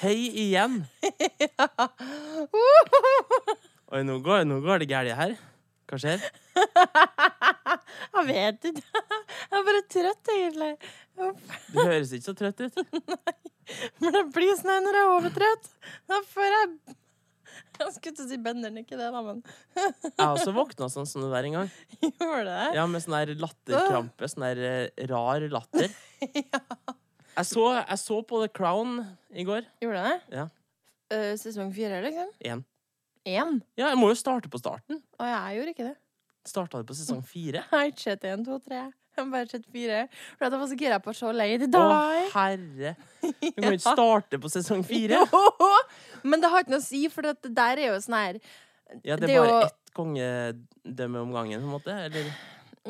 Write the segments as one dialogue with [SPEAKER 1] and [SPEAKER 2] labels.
[SPEAKER 1] Hei igjen. Oi, nå går, nå går det gærent her. Hva skjer?
[SPEAKER 2] Jeg vet ikke. Jeg er bare trøtt, egentlig. Uff.
[SPEAKER 1] Du høres ikke så trøtt ut.
[SPEAKER 2] Men jeg blir sånn her når jeg er overtrøtt. Da får jeg Jeg skulle til å si benderen, ikke det, da, men
[SPEAKER 1] Jeg har også våkna sånn som det der en gang.
[SPEAKER 2] gjorde det.
[SPEAKER 1] Ja, Med sånn der latterkrampe. Sånn der eh, rar latter. Jeg så, jeg så på The Crown i går.
[SPEAKER 2] Gjorde det?
[SPEAKER 1] Ja.
[SPEAKER 2] Eh, sesong fire, liksom?
[SPEAKER 1] Én.
[SPEAKER 2] Én?
[SPEAKER 1] Ja, jeg må jo starte på starten.
[SPEAKER 2] Og jeg gjorde ikke det.
[SPEAKER 1] Starta det på sesong fire?
[SPEAKER 2] Jeg har ikke sett én, to, tre. Jeg har bare sett fire. For jeg var så gira på å se Lady
[SPEAKER 1] Å,
[SPEAKER 2] Di.
[SPEAKER 1] herre. Du kan jo ikke starte på sesong fire.
[SPEAKER 2] Jo! Men det har ikke noe å si, for at det der er jo sånn her
[SPEAKER 1] Ja, det
[SPEAKER 2] Det
[SPEAKER 1] er
[SPEAKER 2] er
[SPEAKER 1] bare
[SPEAKER 2] jo-
[SPEAKER 1] ett kongedømme om gangen, på en måte. Eller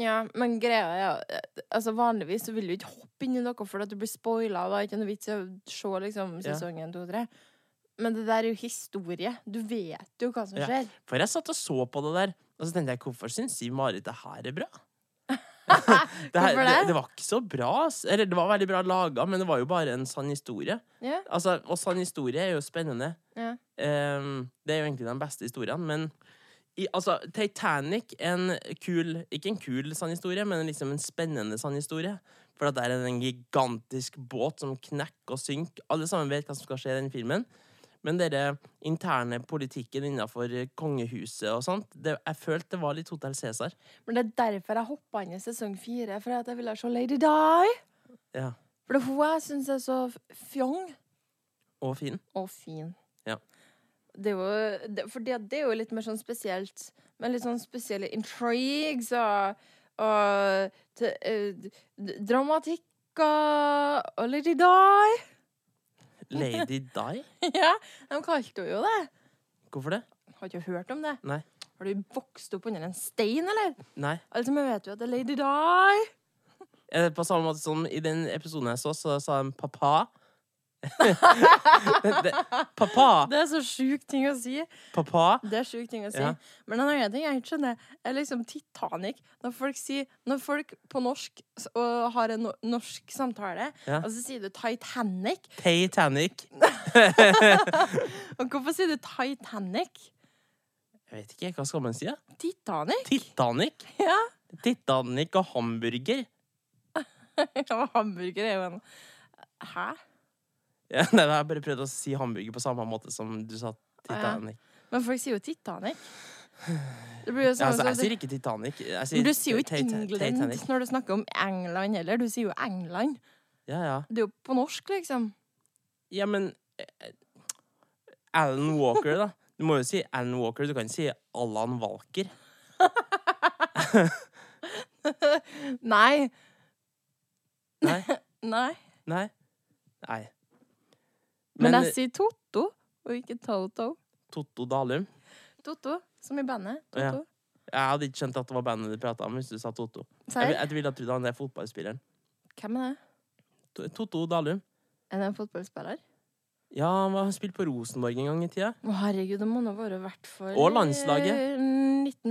[SPEAKER 2] Ja, men greia er jo- Altså, vanligvis så vil du ikke hoppe inn i noe fordi at du blir spoila. og Det er ikke noe vits i å se liksom
[SPEAKER 1] Ja.
[SPEAKER 2] sesong én, to, tre. Men det der er jo historie. Du vet jo hva som
[SPEAKER 1] Ja.
[SPEAKER 2] skjer.
[SPEAKER 1] For jeg satt og så på det der, og så tenkte jeg hvorfor syns Siv-Marit det her er bra? Det, her,
[SPEAKER 2] Hvorfor
[SPEAKER 1] det,
[SPEAKER 2] det?
[SPEAKER 1] det var ikke så bra. ass. Eller det var veldig bra laga, men det var jo bare en sann historie.
[SPEAKER 2] Ja.
[SPEAKER 1] Altså, og sann historie er jo spennende.
[SPEAKER 2] Ja.
[SPEAKER 1] Ehm, det er jo egentlig de beste historiene, men i, altså, Titanic en kul Ikke en kul sann historie, men liksom en spennende sann historie. For at det er en gigantisk båt som knekker og synker. Alle sammen vet hva som skal skje i den filmen. Men den interne politikken innafor kongehuset og sånt det, Jeg følte det var litt Hotell Cæsar.
[SPEAKER 2] Men det er derfor jeg hoppa inn i sesong fire, for at jeg ville se Lady Di.
[SPEAKER 1] Ja.
[SPEAKER 2] For det er hun jeg syns er så fjong
[SPEAKER 1] Og fin.
[SPEAKER 2] og fin.
[SPEAKER 1] Ja.
[SPEAKER 2] Det er jo, det, for det, det er jo litt mer sånn spesielt, med litt sånn spesielle intrigues og, og te, eh, d- dramatikk og, og Lady Di.
[SPEAKER 1] Lady Di?
[SPEAKER 2] ja, de kalte henne jo det.
[SPEAKER 1] Hvorfor det?
[SPEAKER 2] Har ikke hørt om det?
[SPEAKER 1] Nei.
[SPEAKER 2] Har du vokst opp under en stein, eller?
[SPEAKER 1] Nei.
[SPEAKER 2] Alle som vet jo at det er Lady Di.
[SPEAKER 1] Eh, På samme måte som i den episoden jeg så, så sa han pappa. det, pappa!
[SPEAKER 2] Det er så sjukt ting å si.
[SPEAKER 1] Pappa!
[SPEAKER 2] Det er sjukt ting å si.
[SPEAKER 1] Ja.
[SPEAKER 2] Men en annen ting jeg ikke skjønner, er liksom Titanic. Når folk, sier, når folk på norsk s- og har en no norsk samtale,
[SPEAKER 1] Ja.
[SPEAKER 2] og så sier du Titanic
[SPEAKER 1] Titanic.
[SPEAKER 2] Og hvorfor sier du Titanic?
[SPEAKER 1] Jeg vet ikke, hva skal man si? da?
[SPEAKER 2] Titanic?
[SPEAKER 1] Titanic?
[SPEAKER 2] Ja.
[SPEAKER 1] Titanic og hamburger.
[SPEAKER 2] ja men hamburger er jo en Hæ?
[SPEAKER 1] Ja, nei, jeg har bare prøvd å si hamburger på samme måte som du sa Titanic.
[SPEAKER 2] Men folk sier jo Titanic. Det blir jo
[SPEAKER 1] Ja,
[SPEAKER 2] sånn
[SPEAKER 1] altså,
[SPEAKER 2] som
[SPEAKER 1] jeg
[SPEAKER 2] du-
[SPEAKER 1] sier ikke Titanic. Jeg
[SPEAKER 2] Men du sier jo ikke
[SPEAKER 1] Tita-
[SPEAKER 2] England
[SPEAKER 1] Titanic.
[SPEAKER 2] når du snakker om England heller. Du sier jo England.
[SPEAKER 1] Ja, ja.
[SPEAKER 2] Det er jo på norsk, liksom.
[SPEAKER 1] Ja, men eh, Alan Walker, da. Du må jo si Alan Walker. Du kan ikke si Allan Walker.
[SPEAKER 2] Nei.
[SPEAKER 1] Nei.
[SPEAKER 2] Nei.
[SPEAKER 1] Nei. Nei.
[SPEAKER 2] Men,
[SPEAKER 1] Men
[SPEAKER 2] jeg sier Totto, og ikke Toto.
[SPEAKER 1] Totto Dalum
[SPEAKER 2] Totto, som i bandet.
[SPEAKER 1] Å, ja.
[SPEAKER 2] Totto.
[SPEAKER 1] Jeg hadde ikke skjønt at det var bandet du prata om hvis du sa Totto. Jeg,
[SPEAKER 2] Serr?
[SPEAKER 1] jeg ville trodd han er fotballspilleren.
[SPEAKER 2] Hvem er det?
[SPEAKER 1] To- Totto Dalum.
[SPEAKER 2] Er det en fotballspiller?
[SPEAKER 1] Ja, han var- han spilte på Rosenborg en gang i tida.
[SPEAKER 2] Å, herregud, det må nå være hvert for
[SPEAKER 1] Og landslaget.
[SPEAKER 2] eh, 19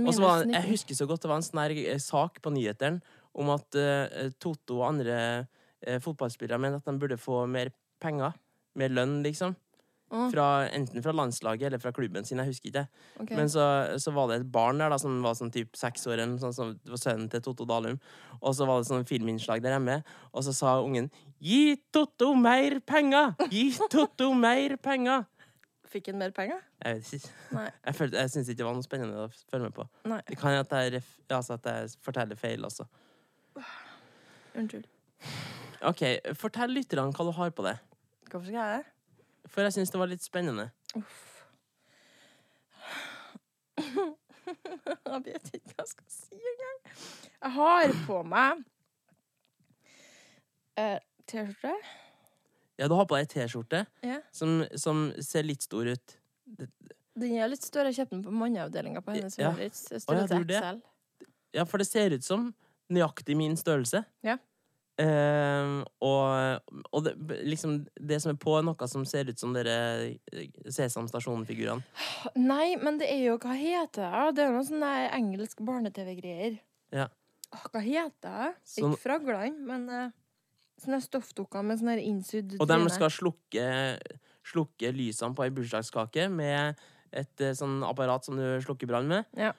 [SPEAKER 1] Og
[SPEAKER 2] minus
[SPEAKER 1] så var han,
[SPEAKER 2] 19.
[SPEAKER 1] jeg husker så godt det var en sånn her eh, sak på nyhetene om at eh, Totto og andre eh, fotballspillere mente at de burde få mer penger. Mer lønn, liksom.
[SPEAKER 2] Å,
[SPEAKER 1] Fra, enten fra landslaget eller fra klubben sin. Jeg husker ikke.
[SPEAKER 2] ok.
[SPEAKER 1] Men så, så var det et barn der da, som var sånn typ seks år, eller noe sånt, som det var sønnen til Totto Dalum. Og så var det sånn filminnslag der hjemme, og så sa ungen 'Gi Totto mer penger! Gi Totto mer penger!'
[SPEAKER 2] Fikk han mer penger?
[SPEAKER 1] Jeg vet ikke.
[SPEAKER 2] Nei.
[SPEAKER 1] Jeg, følte- jeg syns ikke det var noe spennende å følge med på.
[SPEAKER 2] Nei.
[SPEAKER 1] Det kan hende at, jeg ref- altså, at jeg forteller feil, altså.
[SPEAKER 2] Unnskyld.
[SPEAKER 1] OK, fortell lytterne hva du har på deg.
[SPEAKER 2] Hvorfor skal jeg det?
[SPEAKER 1] For jeg syns det var litt spennende.
[SPEAKER 2] Jeg vet ikke hva jeg skal si engang. Jeg har på meg eh, T-skjorte.
[SPEAKER 1] Ja, du har på deg ei T-skjorte
[SPEAKER 2] Ja.
[SPEAKER 1] som, som ser litt stor ut.
[SPEAKER 2] Den er litt større. Jeg kjøpte den på manneavdelinga på hennes eh,
[SPEAKER 1] Ja.
[SPEAKER 2] ja.
[SPEAKER 1] Å, ja,
[SPEAKER 2] Størrelse
[SPEAKER 1] du det?
[SPEAKER 2] XL.
[SPEAKER 1] Ja, for det ser ut som nøyaktig min størrelse.
[SPEAKER 2] Ja.
[SPEAKER 1] Eh, og og det, liksom det som er på, er noe som ser ut som dere eh, Sesam Stasjon-figurene.
[SPEAKER 2] Nei, men det er jo Hva heter det? Det er jo noen sånne engelske barne-TV-greier.
[SPEAKER 1] Ja.
[SPEAKER 2] Åh, Hva heter det?
[SPEAKER 1] Sånn-
[SPEAKER 2] Ikke fragland, men eh, sånne stoffdukker med sånne her innsydd
[SPEAKER 1] Og de
[SPEAKER 2] tryne.
[SPEAKER 1] skal slukke, slukke lysene på ei bursdagskake med et eh, sånn apparat som du slukker brann med.
[SPEAKER 2] Ja.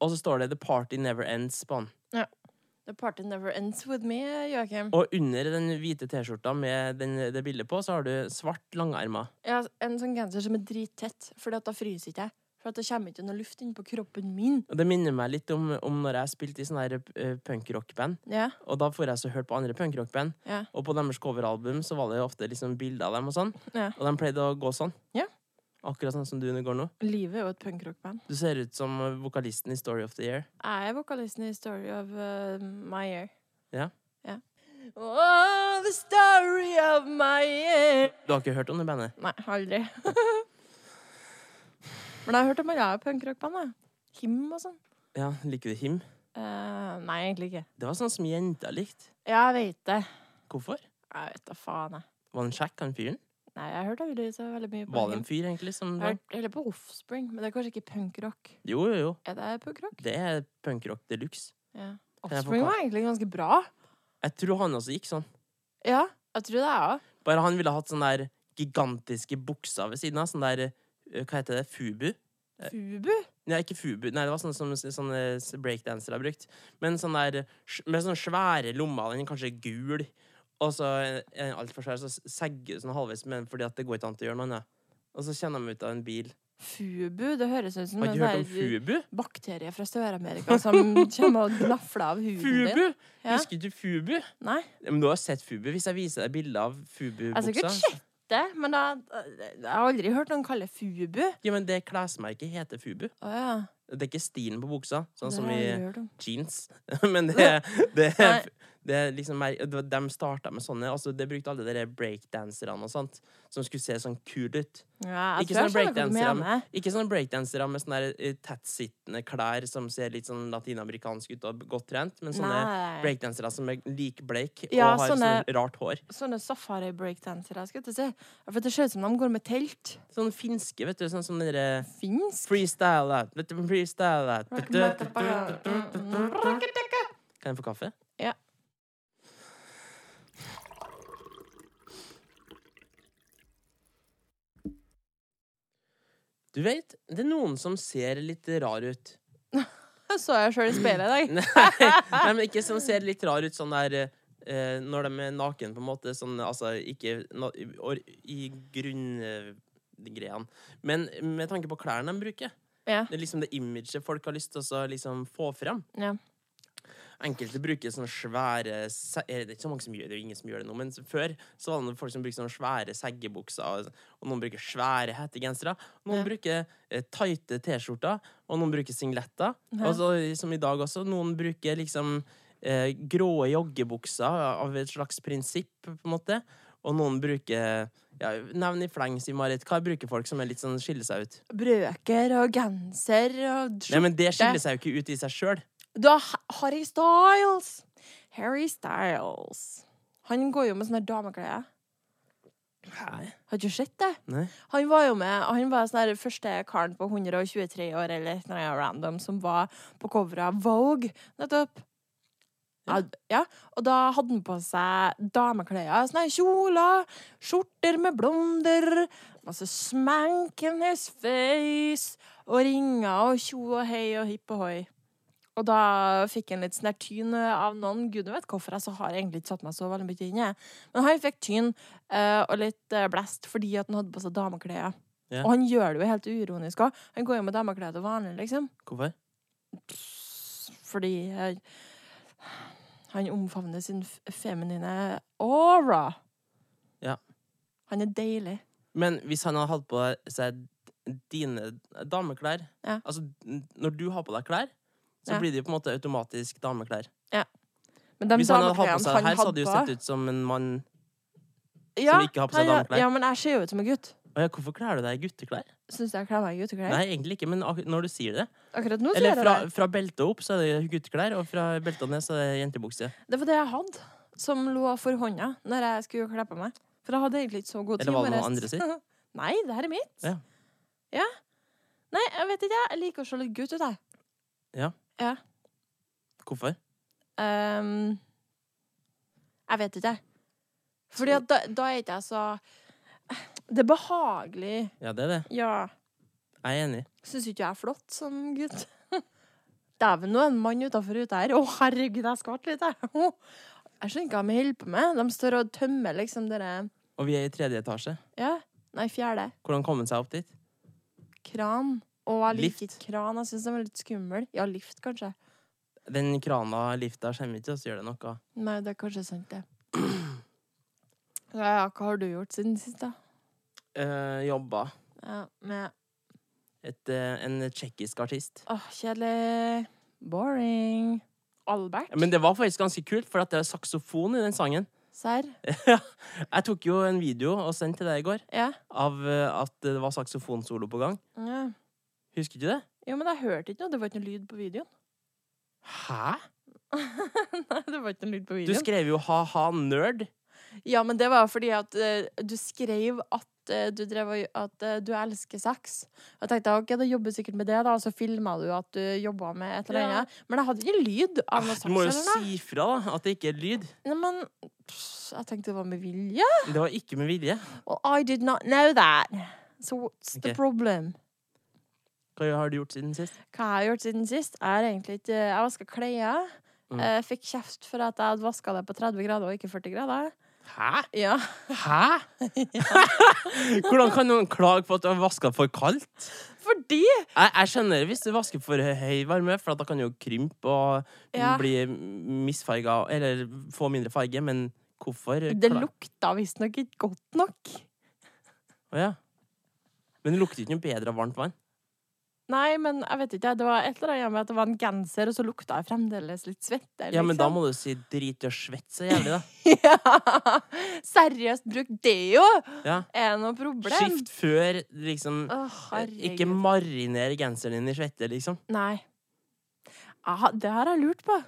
[SPEAKER 1] Og så står det 'The party never ends' på den.
[SPEAKER 2] The party never ends with me, Joakim.
[SPEAKER 1] Og under den hvite T-skjorta med den, det bildet på, så har du svart langermer.
[SPEAKER 2] Jeg har en sånn genser som er drittett, for da fryser ikke jeg. For at det kommer ikke noe luft inn på kroppen min.
[SPEAKER 1] Og det minner meg litt om, om når jeg spilte i sånne her eh, punkrockband.
[SPEAKER 2] Ja,
[SPEAKER 1] Og da får jeg så hørt på andre punkrockband.
[SPEAKER 2] Ja.
[SPEAKER 1] Og på deres coveralbum så var det jo ofte liksom bilder av dem og sånn.
[SPEAKER 2] Ja.
[SPEAKER 1] Og de pleide å gå sånn.
[SPEAKER 2] Ja.
[SPEAKER 1] Akkurat sånn som du går nå.
[SPEAKER 2] Livet er jo et punkrockband.
[SPEAKER 1] Du ser ut som vokalisten i Story of the Year.
[SPEAKER 2] Jeg er vokalisten i Story of uh, My Year.
[SPEAKER 1] Ja.
[SPEAKER 2] ja. Oh, the story of my year.
[SPEAKER 1] Du har ikke hørt om det bandet?
[SPEAKER 2] Nei, aldri. Men jeg har hørt om at jeg er punkrockband, jeg. Him og sånn.
[SPEAKER 1] Ja, Liker du Him?
[SPEAKER 2] Eh, nei, egentlig ikke.
[SPEAKER 1] Det var sånn som jenter likte.
[SPEAKER 2] Jeg veit det.
[SPEAKER 1] Hvorfor?
[SPEAKER 2] Jeg vet da faen, jeg.
[SPEAKER 1] Var han kjekk, han fyren?
[SPEAKER 2] Nei, jeg hørte aldri så veldig mye på
[SPEAKER 1] Var det
[SPEAKER 2] Him.
[SPEAKER 1] en fyr, egentlig? som...
[SPEAKER 2] Jeg hørte heller på Offspring, men det er kanskje ikke punkrock.
[SPEAKER 1] Jo, jo, jo.
[SPEAKER 2] Er det punkrock?
[SPEAKER 1] Det er punkrock de luxe.
[SPEAKER 2] Ja.
[SPEAKER 1] Kan jeg få
[SPEAKER 2] Offspring
[SPEAKER 1] ka-
[SPEAKER 2] var egentlig ganske bra.
[SPEAKER 1] Jeg tror han også gikk sånn.
[SPEAKER 2] Ja, jeg tror det, jeg òg.
[SPEAKER 1] Bare han ville hatt sånne der gigantiske bukser ved siden av. Sånn der eh, Hva heter det? Fubu? Eh.
[SPEAKER 2] Fubu?
[SPEAKER 1] Nei, ikke fubu. Nei, det var sånne som sånne breakdansere har brukt. Men sånne der, med sånne svære lommer. Den er kanskje gul. Og så eh, er den altfor svær, så segger du sånn halvveis med den fordi at det går ikke an til å gjøre noe annet. Og så kjenner de ut av en bil.
[SPEAKER 2] Fubu, det høres ut som
[SPEAKER 1] Har
[SPEAKER 2] en
[SPEAKER 1] ikke hørt om
[SPEAKER 2] sånn
[SPEAKER 1] Fubu?
[SPEAKER 2] bakterie fra Sør-Amerika som kommer og gnafler av huden din.
[SPEAKER 1] Fubu!
[SPEAKER 2] Ja.
[SPEAKER 1] Husker du Fubu?
[SPEAKER 2] Nei, Altså,
[SPEAKER 1] Men du har sett Fubu hvis jeg viser deg bilde av
[SPEAKER 2] jeg har sikkert
[SPEAKER 1] Fubu-buksa.
[SPEAKER 2] sett det, men da, jeg har aldri hørt noen kalle fubu.
[SPEAKER 1] Ja, men det klesmerket heter Fubu.
[SPEAKER 2] Å ja.
[SPEAKER 1] Det er ikke stilen på buksa, sånn
[SPEAKER 2] det
[SPEAKER 1] som
[SPEAKER 2] har jeg
[SPEAKER 1] i
[SPEAKER 2] aldri hørt om.
[SPEAKER 1] jeans. Men det, det,
[SPEAKER 2] Nei.
[SPEAKER 1] det er liksom mer- det var- De starta med sånne. Altså, det brukte alle de der breakdanserne og sånt, som skulle se sånn kule ut.
[SPEAKER 2] Ja, jeg
[SPEAKER 1] Ikke
[SPEAKER 2] tror
[SPEAKER 1] sånn
[SPEAKER 2] jeg skjønner hva du
[SPEAKER 1] breakdansere,
[SPEAKER 2] mener.
[SPEAKER 1] Ikke sånne breakdansere med sånne der, eh, tettsittende klær som ser litt sånn latinamerikanske ut og godt trent, men sånne
[SPEAKER 2] Nei.
[SPEAKER 1] breakdansere som er likbleik og
[SPEAKER 2] Ja,
[SPEAKER 1] har
[SPEAKER 2] sånne-
[SPEAKER 1] sånn rart hår.
[SPEAKER 2] Sånne safari-breakdansere, skal jeg ikke si. Ja, For det ser ut som de går med telt.
[SPEAKER 1] Sånne finske, vet du. Sånn som dere
[SPEAKER 2] Finsk?
[SPEAKER 1] Freestyle that, vet du, freestyle that. Vet du, vet du, vet du,
[SPEAKER 2] Mm,
[SPEAKER 1] vet du. Kan jeg få kaffe?
[SPEAKER 2] Ja.
[SPEAKER 1] Du vet, det er noen som ser litt rar ut.
[SPEAKER 2] Så jeg sjøl i speilet i dag.
[SPEAKER 1] Nei, nei, men ikke som ser litt rar ut sånn der eh, Når de er naken, på en måte. Sånn, altså ikke na or, i grunngreiene. Men med tanke på klærne de bruker.
[SPEAKER 2] Ja.
[SPEAKER 1] Det er liksom det imaget folk har lyst til å så liksom få fram.
[SPEAKER 2] Ja.
[SPEAKER 1] Enkelte bruker sånne svære se- eh, Det er ikke så mange som gjør det, det er jo ingen som gjør det nå, men før så var det noen folk som brukte sånne svære seggebukser, og, og noen bruker svære hettegensere. Noen
[SPEAKER 2] Ja.
[SPEAKER 1] bruker eh, tighte T-skjorter, og noen bruker singletter.
[SPEAKER 2] Ja.
[SPEAKER 1] Og så, som i dag også, noen bruker liksom eh, grå joggebukser av et slags prinsipp, på en måte. Og noen bruker ja, Nevn i fleng, si Marit. Hva bruker folk som er litt sånn skiller seg ut?
[SPEAKER 2] Brøker og genser og
[SPEAKER 1] Nei, men det skiller seg jo ikke ut i seg sjøl.
[SPEAKER 2] Da Harry Styles. Harry Styles. Han går jo med sånne dameklær. Har du ikke sett det?
[SPEAKER 1] Nei.
[SPEAKER 2] Han var jo med, han var sånn her første karen på 123 år eller noe random som var på coveret av Vogue nettopp. Ja. ja, og da hadde han på seg dameklær, sånne her kjoler, skjorter med blonder, masse smank in his face, og ringer og tjo og hei og hipp og hoi. Og da fikk han litt sånn her tyn av noen. Gud vet hvorfor, jeg så har jeg egentlig ikke satt meg så veldig mye inn i det. Men han fikk tyn eh, og litt eh, blest fordi at han hadde på seg dameklær.
[SPEAKER 1] Ja.
[SPEAKER 2] Og han gjør det jo helt uironisk òg. Han går jo med dameklær til vanlig, liksom.
[SPEAKER 1] Hvorfor?
[SPEAKER 2] Fordi eh, han omfavner sin f- feminine aura.
[SPEAKER 1] Ja.
[SPEAKER 2] Han er deilig.
[SPEAKER 1] Men hvis han hadde hatt på seg dine dameklær
[SPEAKER 2] Ja.
[SPEAKER 1] Altså, n- når du har på deg klær, så
[SPEAKER 2] Ja.
[SPEAKER 1] blir det jo på en måte automatisk dameklær.
[SPEAKER 2] Men de
[SPEAKER 1] hvis han hadde hatt på
[SPEAKER 2] dameklærne
[SPEAKER 1] seg det her, så hadde det jo
[SPEAKER 2] på-
[SPEAKER 1] sett ut som en mann
[SPEAKER 2] ja,
[SPEAKER 1] ikke har på seg
[SPEAKER 2] ja, ja,
[SPEAKER 1] dameklær.
[SPEAKER 2] Ja, men jeg ser jo ut som en gutt.
[SPEAKER 1] Å ja, hvorfor kler du deg i gutteklær?
[SPEAKER 2] Syns du jeg kler meg i gutteklær?
[SPEAKER 1] Nei, egentlig ikke, men ak når du sier det.
[SPEAKER 2] Akkurat nå
[SPEAKER 1] Eller
[SPEAKER 2] ser jeg
[SPEAKER 1] fra,
[SPEAKER 2] det.
[SPEAKER 1] fra beltet opp så er det gutteklær, og fra beltet ned så er det jentebukse.
[SPEAKER 2] Det var det jeg hadde, som lå for hånda når jeg skulle kle på meg. For jeg hadde egentlig ikke så god tid.
[SPEAKER 1] Eller var det noen
[SPEAKER 2] bare-
[SPEAKER 1] andre sitt?
[SPEAKER 2] Nei, det her er mitt.
[SPEAKER 1] Ja.
[SPEAKER 2] Ja. Nei, jeg vet ikke. Jeg liker å se litt gutt ut, jeg.
[SPEAKER 1] Hvorfor?
[SPEAKER 2] Ehm, jeg vet ikke. Fordi at da, da er ikke jeg så Det er behagelig.
[SPEAKER 1] Ja, det er det.
[SPEAKER 2] Ja.
[SPEAKER 1] Jeg er enig.
[SPEAKER 2] Syns ikke jeg er flott som gutt. Dæven, nå er en mann utafor ute her. Å, herregud, jeg skvatt litt, jeg. Å, Jeg skjønner ikke hva de holder på med. De står og tømmer liksom dere
[SPEAKER 1] Og vi er i tredje etasje.
[SPEAKER 2] Ja, nei, fjerde.
[SPEAKER 1] Hvordan kom han seg opp dit?
[SPEAKER 2] Kran. Å, jeg
[SPEAKER 1] Lift.
[SPEAKER 2] liker ikke kran. Jeg syns den er litt skummel. Ja, lift, kanskje.
[SPEAKER 1] Den krana lifta kommer ikke til oss, gjør det noe?
[SPEAKER 2] Nei, det er kanskje sant, det. Ja, ja, hva har du gjort siden sist, da?
[SPEAKER 1] Eh, jobba.
[SPEAKER 2] Ja, med
[SPEAKER 1] Et, eh, en tsjekkisk artist.
[SPEAKER 2] Åh, kjedelig. Boring. Albert?
[SPEAKER 1] Ja, Men det var faktisk ganske kult, for at det er saksofon i den sangen.
[SPEAKER 2] Serr?
[SPEAKER 1] jeg tok jo en video og sendte til deg i går
[SPEAKER 2] Ja.
[SPEAKER 1] av eh, at det var saksofonsolo på gang.
[SPEAKER 2] ja.
[SPEAKER 1] Husker du det?
[SPEAKER 2] Jo, men jeg hørte ikke noe. Det var ikke noe lyd på videoen.
[SPEAKER 1] Hæ?
[SPEAKER 2] Nei, det var ikke noe lyd
[SPEAKER 1] Du
[SPEAKER 2] på videoen.
[SPEAKER 1] skrev jo ha-ha nerd.
[SPEAKER 2] Ja, men det var fordi at eh, du skrev at eh, du, drev, og- at eh, du elsker sex. Jeg tenkte ok, da jobber du sikkert med det, da, og så filma du at du jobba med et eller
[SPEAKER 1] Ja. Ah,
[SPEAKER 2] annet. Men jeg hadde ikke lyd av noe
[SPEAKER 1] Du
[SPEAKER 2] sex.
[SPEAKER 1] må jo
[SPEAKER 2] eller noe.
[SPEAKER 1] si fra da, at det ikke er lyd.
[SPEAKER 2] Nei, men pff, jeg tenkte det var med vilje.
[SPEAKER 1] Det var ikke med vilje.
[SPEAKER 2] Well, I did not know that. So what's the
[SPEAKER 1] Ok.
[SPEAKER 2] problem?
[SPEAKER 1] Hva har du gjort siden sist?
[SPEAKER 2] Hva jeg har gjort siden sist, er egentlig ikke Jeg vaska klær.
[SPEAKER 1] Mm.
[SPEAKER 2] Eh, fikk kjeft for at jeg hadde vaska det på 30 grader og ikke 40 grader.
[SPEAKER 1] Hæ?
[SPEAKER 2] Ja.
[SPEAKER 1] Hæ? Hvordan kan noen klage på at du har vaska for kaldt?
[SPEAKER 2] Fordi
[SPEAKER 1] Jeg, jeg skjønner hvis du vasker for høy varme, for at da kan du jo krympe og
[SPEAKER 2] Ja.
[SPEAKER 1] bli misfarga Eller få mindre farge, men hvorfor
[SPEAKER 2] det
[SPEAKER 1] kla-
[SPEAKER 2] lukta visstnok ikke godt nok.
[SPEAKER 1] Å ja. Men det lukter ikke noe bedre av varmt vann.
[SPEAKER 2] Nei, men jeg vet ikke. Det var et eller annet med at det var en genser, og så lukta jeg fremdeles litt svette. liksom.
[SPEAKER 1] Ja, men da må du si drit i å svette så jævlig, da.
[SPEAKER 2] ja. Seriøst, bruk deo!
[SPEAKER 1] Ja.
[SPEAKER 2] Er det noe problem?
[SPEAKER 1] Skift før, liksom.
[SPEAKER 2] Å,
[SPEAKER 1] Ikke
[SPEAKER 2] herregud.
[SPEAKER 1] mariner genseren din i svette, liksom.
[SPEAKER 2] Nei. Jeg har- det har jeg lurt på.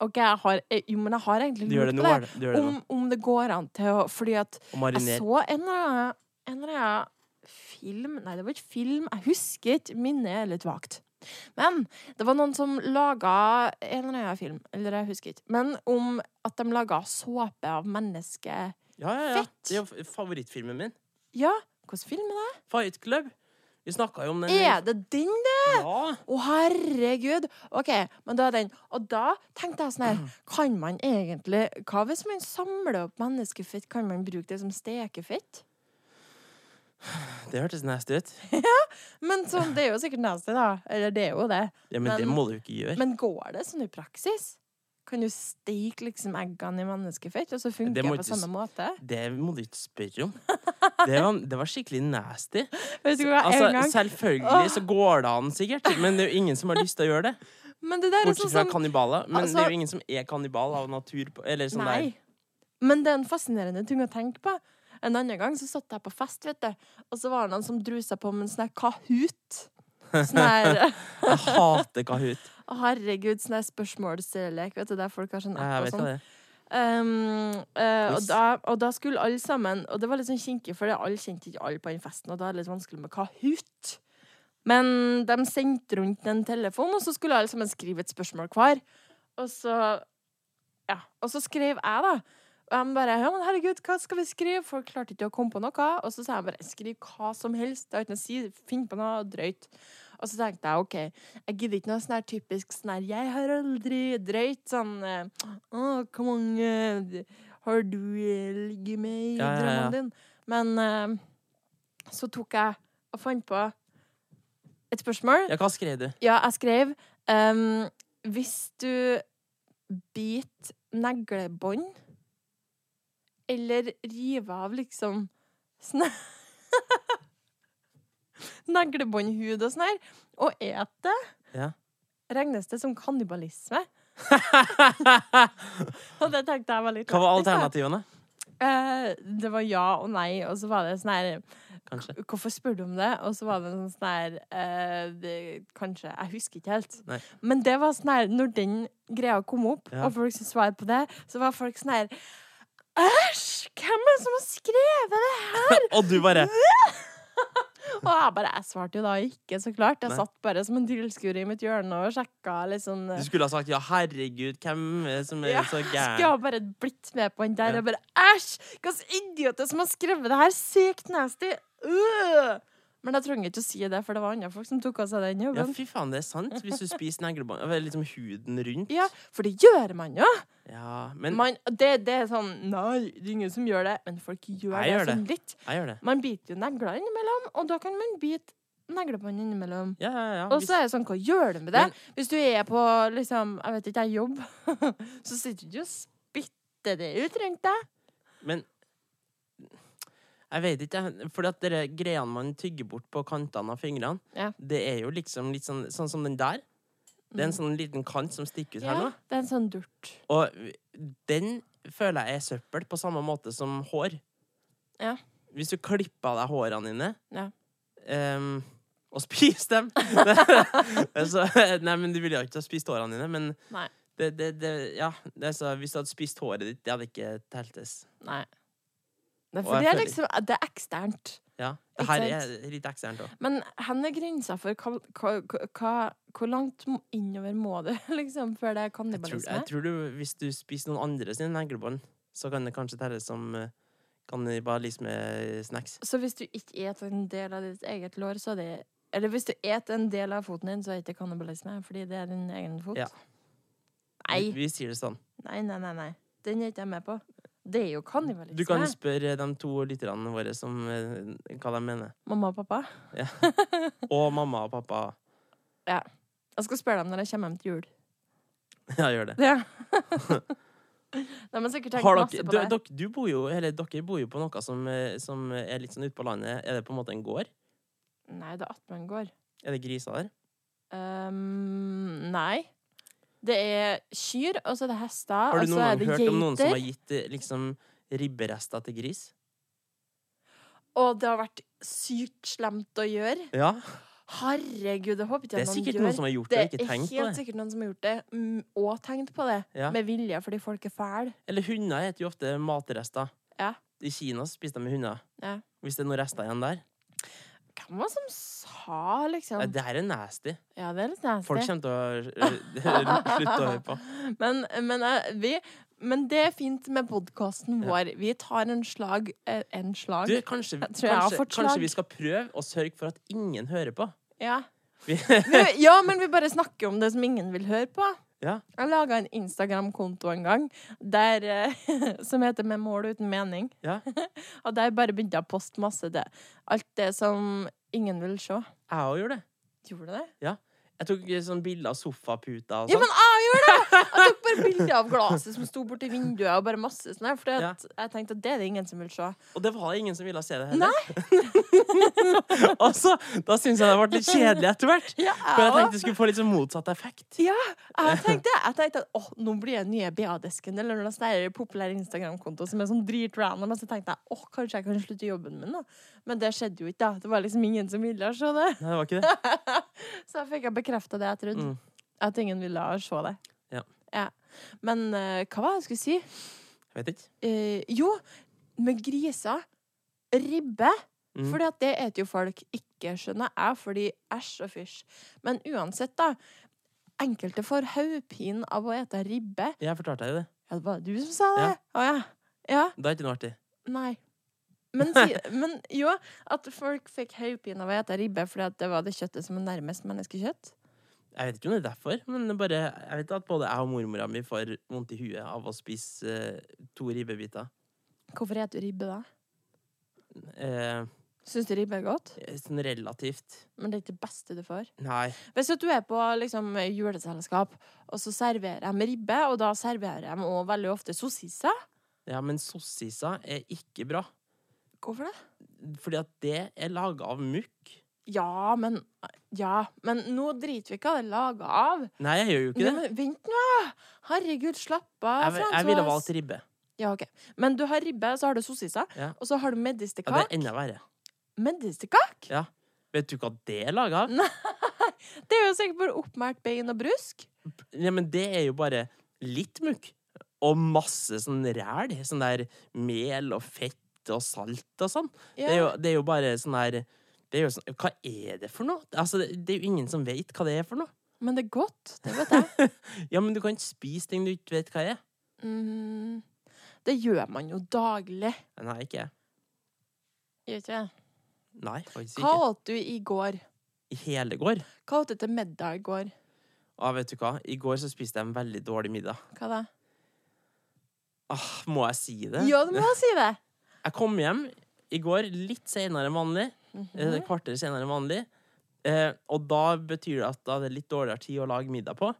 [SPEAKER 2] OK, jeg har eh, Jo, men jeg har egentlig
[SPEAKER 1] Du gjør
[SPEAKER 2] lurt
[SPEAKER 1] det nå,
[SPEAKER 2] på det.
[SPEAKER 1] er det. Du gjør det nå.
[SPEAKER 2] Om, om det går an til å Fordi at
[SPEAKER 1] Og
[SPEAKER 2] jeg
[SPEAKER 1] mariner.
[SPEAKER 2] så en eller annen, en eller annen film Nei, det var ikke film. Jeg husker ikke. Minnet er litt vagt. Men det var noen som laga en eller annen film, eller jeg husker ikke, men om at de laga såpe av menneskefett.
[SPEAKER 1] Ja, ja, ja.
[SPEAKER 2] Fett.
[SPEAKER 1] Det er jo f- favorittfilmen min.
[SPEAKER 2] Ja, hvilken film er det?
[SPEAKER 1] Fight Club. Vi snakka jo om den.
[SPEAKER 2] Er det den, det?
[SPEAKER 1] Ja.
[SPEAKER 2] Å, herregud! OK, men da er den. Og da tenkte jeg sånn her, kan man egentlig Hva hvis man samler opp menneskefett? Kan man bruke det som stekefett?
[SPEAKER 1] Det hørtes nasty ut.
[SPEAKER 2] Men sånn, det er jo sikkert nasty, da. Eller det er jo det.
[SPEAKER 1] Ja, men, det
[SPEAKER 2] Men-
[SPEAKER 1] må du jo ikke gjøre.
[SPEAKER 2] Men går det sånn i praksis? Kan du steke liksom eggene i menneskefett, og så funker
[SPEAKER 1] Det
[SPEAKER 2] det
[SPEAKER 1] må
[SPEAKER 2] på
[SPEAKER 1] ikke s-
[SPEAKER 2] samme måte?
[SPEAKER 1] Det må du ikke spørre om. Det var, det var skikkelig nasty.
[SPEAKER 2] Vet du hva, en
[SPEAKER 1] Altså,
[SPEAKER 2] gang
[SPEAKER 1] selvfølgelig så går det an, sikkert, men det er jo ingen som har lyst til å gjøre det.
[SPEAKER 2] Men det der er
[SPEAKER 1] Bortsett
[SPEAKER 2] sånn
[SPEAKER 1] fra
[SPEAKER 2] som
[SPEAKER 1] kannibaler. Men
[SPEAKER 2] altså-
[SPEAKER 1] det er jo ingen som er kannibal av natur på, Eller sånn
[SPEAKER 2] Nei. Men det er en fascinerende ting å tenke på. En annen gang så satt jeg på fest, vet du, og så var det noen som drusa på med en sånn her Kahoot. Sånn her
[SPEAKER 1] der. Jeg hater Kahoot.
[SPEAKER 2] Å, herregud, sånn her spørsmålslek, vet du, der folk har sånn
[SPEAKER 1] Jeg
[SPEAKER 2] app og
[SPEAKER 1] vet
[SPEAKER 2] sånn.
[SPEAKER 1] hva det. er.
[SPEAKER 2] Um, eh, og,
[SPEAKER 1] Quiz.
[SPEAKER 2] da, og da skulle alle sammen Og det var litt sånn kinkig, for alle kjente ikke alle på den festen. Og da er det litt vanskelig med Kahoot. Men de sendte rundt en telefon, og så skulle alle sammen skrive et spørsmål hver. Og så Ja. Og så skrev jeg, da. Og de bare ja, men 'Herregud, hva skal vi skrive?' Folk klarte ikke å komme på noe. Og så sa jeg bare 'Skriv hva som helst'. Det har ikke noe å si. Finn på noe drøyt. Og så tenkte jeg OK, jeg gidder ikke noe sånn her typisk sånn her 'Jeg har aldri drøyt', sånn eh, å, hvor mange har du eh, ligget med i
[SPEAKER 1] Ja, ja, ja.
[SPEAKER 2] drømmen din? Men eh, så tok jeg og fant på et spørsmål. Ja,
[SPEAKER 1] Ja, hva skrev du?
[SPEAKER 2] jeg skrev ehm, Hvis du biter neglebånd eller river av liksom sånn Neglebåndhud og sånn her, og et det,
[SPEAKER 1] Ja.
[SPEAKER 2] regnes det som kannibalisme?
[SPEAKER 1] Hva
[SPEAKER 2] Og det tenkte jeg var litt
[SPEAKER 1] var
[SPEAKER 2] lættis, da.
[SPEAKER 1] alternativene?
[SPEAKER 2] Eh, det var ja og nei, og så var det sånn her
[SPEAKER 1] Kanskje.
[SPEAKER 2] Hvorfor spør du om det? Og så var det sånn sånn her eh, det, Kanskje Jeg husker ikke helt.
[SPEAKER 1] Nei.
[SPEAKER 2] Men det var sånn her Når den greia kom opp,
[SPEAKER 1] Ja.
[SPEAKER 2] og folk skulle svare på det, så var folk sånn her Æsj! Hvem er det som har skrevet det her?
[SPEAKER 1] Og du bare
[SPEAKER 2] Og jeg bare Jeg svarte jo da ikke, så klart. Jeg
[SPEAKER 1] Nei.
[SPEAKER 2] satt bare som en tilskuer i mitt hjørne og sjekka liksom
[SPEAKER 1] Du skulle ha sagt ja, herregud, hvem er det som er
[SPEAKER 2] Ja,
[SPEAKER 1] så
[SPEAKER 2] Skulle
[SPEAKER 1] gæren?
[SPEAKER 2] ha bare blitt med på den der
[SPEAKER 1] Ja.
[SPEAKER 2] og bare Æsj! Hva slags idioter som har skrevet det her? Sykt nasty! Øh!» Men jeg trenger ikke å si det, for det var andre folk som tok av seg den
[SPEAKER 1] Ja,
[SPEAKER 2] jobben.
[SPEAKER 1] fy faen, det er sant. Hvis du spiser neglebånd eller liksom huden rundt.
[SPEAKER 2] Ja, for det gjør man jo!
[SPEAKER 1] Ja, men
[SPEAKER 2] Man, det, det er sånn Nei, det er ingen som gjør det. Men folk
[SPEAKER 1] Jeg
[SPEAKER 2] gjør det
[SPEAKER 1] gjør det.
[SPEAKER 2] sånn litt.
[SPEAKER 1] jeg gjør det.
[SPEAKER 2] Man biter jo negler innimellom, og da kan man bite neglebånd innimellom.
[SPEAKER 1] Ja, ja, ja.
[SPEAKER 2] Og
[SPEAKER 1] hvis-
[SPEAKER 2] så er det sånn, hva gjør du med det?
[SPEAKER 1] Men-
[SPEAKER 2] Hvis du er på, liksom, jeg vet ikke, jeg jobb, så sitter du ikke og spytter det ut rundt deg.
[SPEAKER 1] Men jeg vet ikke, jeg. For at dere greiene man tygger bort på kantene av fingrene,
[SPEAKER 2] Ja.
[SPEAKER 1] det er jo liksom litt sånn, sånn som den der. Det
[SPEAKER 2] Mm.
[SPEAKER 1] er en sånn liten kant som stikker ut her nå.
[SPEAKER 2] det er en sånn durt.
[SPEAKER 1] Og den føler jeg er søppel på samme måte som hår.
[SPEAKER 2] Ja.
[SPEAKER 1] Hvis du klipper av deg hårene dine
[SPEAKER 2] Ja.
[SPEAKER 1] ehm, og spiser dem så, Nei, men du ville jo ikke ha spist hårene dine, men
[SPEAKER 2] Nei.
[SPEAKER 1] det, det, det, ja, det, er så, Hvis du hadde spist håret ditt, det hadde ikke teltes.
[SPEAKER 2] Nei. Det
[SPEAKER 1] Og
[SPEAKER 2] er, for
[SPEAKER 1] jeg
[SPEAKER 2] det er
[SPEAKER 1] føler-
[SPEAKER 2] liksom, det er eksternt.
[SPEAKER 1] Ja. Det
[SPEAKER 2] Ikke
[SPEAKER 1] her er
[SPEAKER 2] sant?
[SPEAKER 1] litt eksternt òg.
[SPEAKER 2] Men hen er grensa for hva, hva, hva, hvor langt må- innover må du, liksom, før det er
[SPEAKER 1] Jeg tror,
[SPEAKER 2] kannibalisme?
[SPEAKER 1] jeg tror du, hvis du spiser noen andre sine neglebånd, så kan det kanskje telles som eh, kannibalisme-snacks.
[SPEAKER 2] Så hvis du ikke et en del av ditt eget lår, så er det Eller hvis du et en del av foten din, så er det ikke kannibalisme, fordi det er din egen fot.
[SPEAKER 1] Ja. Vi,
[SPEAKER 2] Nei.
[SPEAKER 1] vi sier det sånn.
[SPEAKER 2] nei, nei, nei, nei. Den er ikke jeg med på. Det er jo kannibalisme.
[SPEAKER 1] Du kan jo spørre de to lytterne våre som, eh, hva de mener.
[SPEAKER 2] Mamma og pappa.
[SPEAKER 1] Og mamma og pappa.
[SPEAKER 2] Jeg skal spørre dem når jeg kommer hjem til jul.
[SPEAKER 1] Ja, gjør det.
[SPEAKER 2] Ja. De har sikkert tenkt
[SPEAKER 1] Har
[SPEAKER 2] masse
[SPEAKER 1] dere,
[SPEAKER 2] på
[SPEAKER 1] du,
[SPEAKER 2] det.
[SPEAKER 1] dere, du bor jo, eller dere bor jo på noe som, eh, som er litt sånn ute på landet. Er det på en måte en gård?
[SPEAKER 2] Nei, det er Atman gård.
[SPEAKER 1] Er det griser der?
[SPEAKER 2] Ehm, nei. Det er kyr, og så er det hester,
[SPEAKER 1] Har
[SPEAKER 2] og
[SPEAKER 1] du
[SPEAKER 2] så
[SPEAKER 1] noen
[SPEAKER 2] altså, er
[SPEAKER 1] gang
[SPEAKER 2] det
[SPEAKER 1] hørt om noen som har
[SPEAKER 2] geiter.
[SPEAKER 1] gitt eh, liksom, ribberester til gris?
[SPEAKER 2] Og det har vært sykt slemt å gjøre.
[SPEAKER 1] Ja,
[SPEAKER 2] Herregud, det håper
[SPEAKER 1] Det
[SPEAKER 2] ikke jeg
[SPEAKER 1] er
[SPEAKER 2] noen
[SPEAKER 1] sikkert
[SPEAKER 2] gjør.
[SPEAKER 1] noen som har gjort det og ikke tenkt på
[SPEAKER 2] helt
[SPEAKER 1] det.
[SPEAKER 2] sikkert noen som har gjort det, mm, og tenkt på det.
[SPEAKER 1] Ja.
[SPEAKER 2] Med vilje, fordi folk er fæle.
[SPEAKER 1] Eller hunder spiser jo ofte matrester.
[SPEAKER 2] Ja.
[SPEAKER 1] I Kina så spiser de med hunder.
[SPEAKER 2] Ja.
[SPEAKER 1] Hvis det er noen rester igjen der.
[SPEAKER 2] Hvem var det som sa, liksom?
[SPEAKER 1] Ja, det her er nasty.
[SPEAKER 2] Ja, det er litt nasty.
[SPEAKER 1] Folk kommer til å øh, slutte å høre på.
[SPEAKER 2] Men, men, eh, vi, men det er fint med podkasten
[SPEAKER 1] Ja.
[SPEAKER 2] vår. Vi tar en slag eh, En slag?
[SPEAKER 1] Du, kanskje,
[SPEAKER 2] Jeg tror jeg har
[SPEAKER 1] kanskje,
[SPEAKER 2] fått slag.
[SPEAKER 1] kanskje vi skal prøve å sørge for at ingen hører på.
[SPEAKER 2] Ja.
[SPEAKER 1] Vi,
[SPEAKER 2] Vi- ja, men vi bare snakker om det som ingen vil høre på.
[SPEAKER 1] Ja.
[SPEAKER 2] Jeg laga en Instagram-konto en gang der, eh, som heter Med mål uten mening.
[SPEAKER 1] Ja.
[SPEAKER 2] Og der bare begynte jeg å poste masse til alt det som ingen vil se.
[SPEAKER 1] jeg òg gjorde det.
[SPEAKER 2] Gjorde du det?
[SPEAKER 1] Jeg tok eh, sånn bilder av sofaputa og
[SPEAKER 2] Ja,
[SPEAKER 1] sånn.
[SPEAKER 2] men jeg gjorde det! Jeg tok bare bilder av glasset som sto borti vinduet, og bare masse sånn her, for
[SPEAKER 1] Ja.
[SPEAKER 2] jeg tenkte at det er det ingen som vil se.
[SPEAKER 1] Og det var ingen som ville se det heller. og så, da syntes jeg det ble litt kjedelig etter hvert.
[SPEAKER 2] Ja,
[SPEAKER 1] For jeg tenkte det skulle få litt sånn motsatt effekt.
[SPEAKER 2] Jeg tenkte, jeg tenkte at åh, nå blir jeg den nye BA-desken, eller noen sånn populær Instagram-konto som er sånn dritrandom. Og så tenkte jeg åh, kanskje jeg kan slutte jobben min, da. Men det skjedde jo ikke, da. Det var liksom ingen som ville se det.
[SPEAKER 1] Nei, det var ikke det.
[SPEAKER 2] Så jeg fikk jeg bekrefta det jeg trodde.
[SPEAKER 1] Mm.
[SPEAKER 2] At ingen ville se det.
[SPEAKER 1] Ja.
[SPEAKER 2] Men eh, hva var det jeg skulle si?
[SPEAKER 1] Jeg vet ikke.
[SPEAKER 2] Eh, jo, med griser. Ribbe.
[SPEAKER 1] Mm.
[SPEAKER 2] Fordi at det eter jo folk ikke, skjønner jeg, fordi æsj og fysj. Men uansett, da. Enkelte får hodepine av å ete ribbe.
[SPEAKER 1] Jeg fortalte deg det.
[SPEAKER 2] Ja, det var du som sa det? Å ja. ja.
[SPEAKER 1] Det er ikke noe artig.
[SPEAKER 2] Nei. Men, si, men jo, at folk fikk hodepine av å ete ribbe fordi at det var det kjøttet som er nærmest menneskekjøtt.
[SPEAKER 1] Jeg vet ikke om det er derfor, men det er bare, jeg vet at både jeg og mormora mi får vondt i huet av å spise eh, to ribbebiter.
[SPEAKER 2] Hvorfor spiser du ribbe da?
[SPEAKER 1] Eh,
[SPEAKER 2] Syns du ribbe er godt?
[SPEAKER 1] sånn relativt
[SPEAKER 2] Men det er ikke det beste du får.
[SPEAKER 1] Nei.
[SPEAKER 2] Hvis at du er på liksom, juleselskap, og så serverer de ribbe, og da serverer de også veldig ofte sossiser.
[SPEAKER 1] Ja, men sossiser er ikke bra.
[SPEAKER 2] Hvorfor det?
[SPEAKER 1] Fordi at det er laga av mukk.
[SPEAKER 2] Ja, men Ja, men nå driter vi ikke av det laget av.
[SPEAKER 1] Nei, jeg gjør jo ikke
[SPEAKER 2] Ja,
[SPEAKER 1] det.
[SPEAKER 2] men vent nå! Herregud, slapp av,
[SPEAKER 1] Jeg, jeg ville valgt ribbe.
[SPEAKER 2] Ja, ok. Men du har ribbe, så har du sossiser,
[SPEAKER 1] Ja.
[SPEAKER 2] og så har du
[SPEAKER 1] Ja, det
[SPEAKER 2] medisterkak.
[SPEAKER 1] er enda verre.
[SPEAKER 2] Medisterkak?
[SPEAKER 1] Vet du hva det er laga av?
[SPEAKER 2] Det er jo sikkert bare oppmalt bein og brusk.
[SPEAKER 1] Ja, men det er jo bare litt mukk. Og masse sånn ræl. Sånn der mel og fett og salt og sånn.
[SPEAKER 2] Ja.
[SPEAKER 1] Det, er jo, det er jo bare sånn der Det er jo sånn, hva er det for noe? Altså, det, det er jo ingen som vet hva det er for noe.
[SPEAKER 2] Men det er godt. Det vet jeg.
[SPEAKER 1] Ja, men du kan ikke spise ting du ikke vet hva er.
[SPEAKER 2] Mm, det gjør man jo daglig.
[SPEAKER 1] Nei, ikke jeg.
[SPEAKER 2] Gjør ikke det?
[SPEAKER 1] Nei, faktisk
[SPEAKER 2] Hva
[SPEAKER 1] ikke.
[SPEAKER 2] åt du i går?
[SPEAKER 1] I hele går.
[SPEAKER 2] Hva åt du til middag i går?
[SPEAKER 1] Ah, vet du hva? I går så spiste jeg en veldig dårlig middag.
[SPEAKER 2] Hva da?
[SPEAKER 1] Ah, må jeg si det?
[SPEAKER 2] Ja, du må si det!
[SPEAKER 1] Jeg kom hjem i går litt senere enn vanlig. Mm.
[SPEAKER 2] Mhm.
[SPEAKER 1] Kvarter senere enn vanlig. Eh, og da betyr det at da er det litt dårligere tid å lage middag på.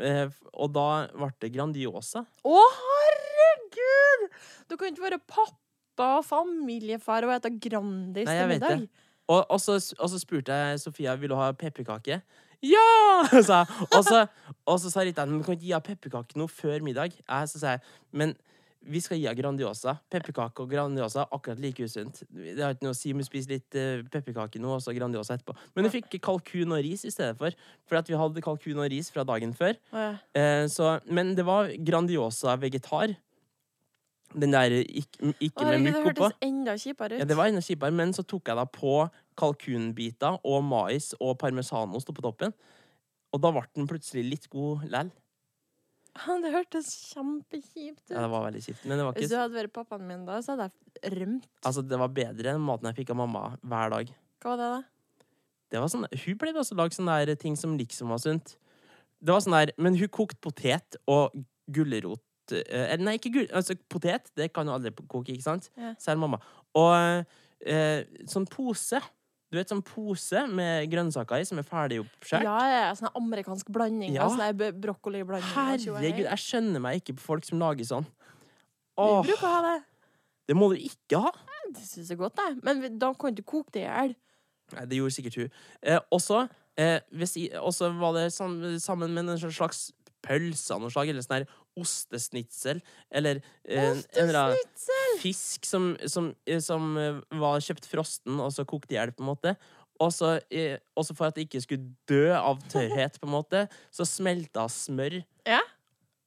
[SPEAKER 1] Eh, f- og da ble det Grandiosa.
[SPEAKER 2] Å, herregud! Du kan ikke være pappa og familiefar og ete Grandis
[SPEAKER 1] Nei,
[SPEAKER 2] til
[SPEAKER 1] jeg vet
[SPEAKER 2] middag.
[SPEAKER 1] Og, og, så, og så spurte jeg Sofia vil du ha pepperkake. Ja! sa jeg. Og så, og så sa Rita men du kan ikke gi henne pepperkake nå før middag. Jeg, så sa jeg men vi skal gi henne Grandiosa. Pepperkake og Grandiosa er akkurat like usunt. Det har ikke noe å si om hun spiser litt eh, pepperkake nå og så Grandiosa etterpå. Men hun fikk kalkun og ris i stedet for, for at vi hadde kalkun og ris fra dagen før.
[SPEAKER 2] Å, ja.
[SPEAKER 1] Eh, så, men det var Grandiosa vegetar. Den der ikke,
[SPEAKER 2] Å,
[SPEAKER 1] ikke med
[SPEAKER 2] herregud, det
[SPEAKER 1] mukk oppå.
[SPEAKER 2] hørtes enda kjipere ut.
[SPEAKER 1] Ja, det var enda kjipere, men så tok jeg da på kalkunbiter og mais og parmesanost på toppen. Og da ble den plutselig litt god lell.
[SPEAKER 2] Ja, det hørtes kjempekjipt ut.
[SPEAKER 1] Ja, det var veldig kjipt, men det var
[SPEAKER 2] Hvis du
[SPEAKER 1] ikke
[SPEAKER 2] hadde vært pappaen min da, så hadde jeg rømt.
[SPEAKER 1] Altså, det var bedre enn maten jeg fikk av mamma hver dag.
[SPEAKER 2] Hva var det, da?
[SPEAKER 1] Det var sånn, hun pleide også å lage sånne der ting som liksom var sunt. Det var sånn der, Men hun kokte potet og gulrot eh, Nei, ikke gul, altså potet. Det kan jo alle koke, ikke sant?
[SPEAKER 2] Ja.
[SPEAKER 1] Selv mamma. Og eh, sånn pose. Du vet sånn pose med grønnsaker i som er ferdig oppskåret?
[SPEAKER 2] Ja, ja, ja, sånn amerikansk blanding.
[SPEAKER 1] Ja.
[SPEAKER 2] Ja. Sånn der b- brokkoliblanding. og tjo og hei.
[SPEAKER 1] Herregud, jeg skjønner meg ikke på folk som lager sånn.
[SPEAKER 2] Vi
[SPEAKER 1] Åh,
[SPEAKER 2] bruker å ha det.
[SPEAKER 1] det må du ikke ha!
[SPEAKER 2] Det syns jeg er godt, jeg. Men vi- da kan du ikke koke det i hjel.
[SPEAKER 1] Nei, det gjorde sikkert hun. Eh, også, eh, hvis i- også var det sam sammen med en slags pølse av noe slag, eller sånn her ostesnitsel, eller eh, en- en eller annen
[SPEAKER 2] Ostesnitzel!
[SPEAKER 1] fisk som, som, eh, som eh, var kjøpt frosten, og så kokt i hjel, på en måte. Og så eh, også for at det ikke skulle dø av tørrhet, på en måte, så smelta smør.
[SPEAKER 2] Ja.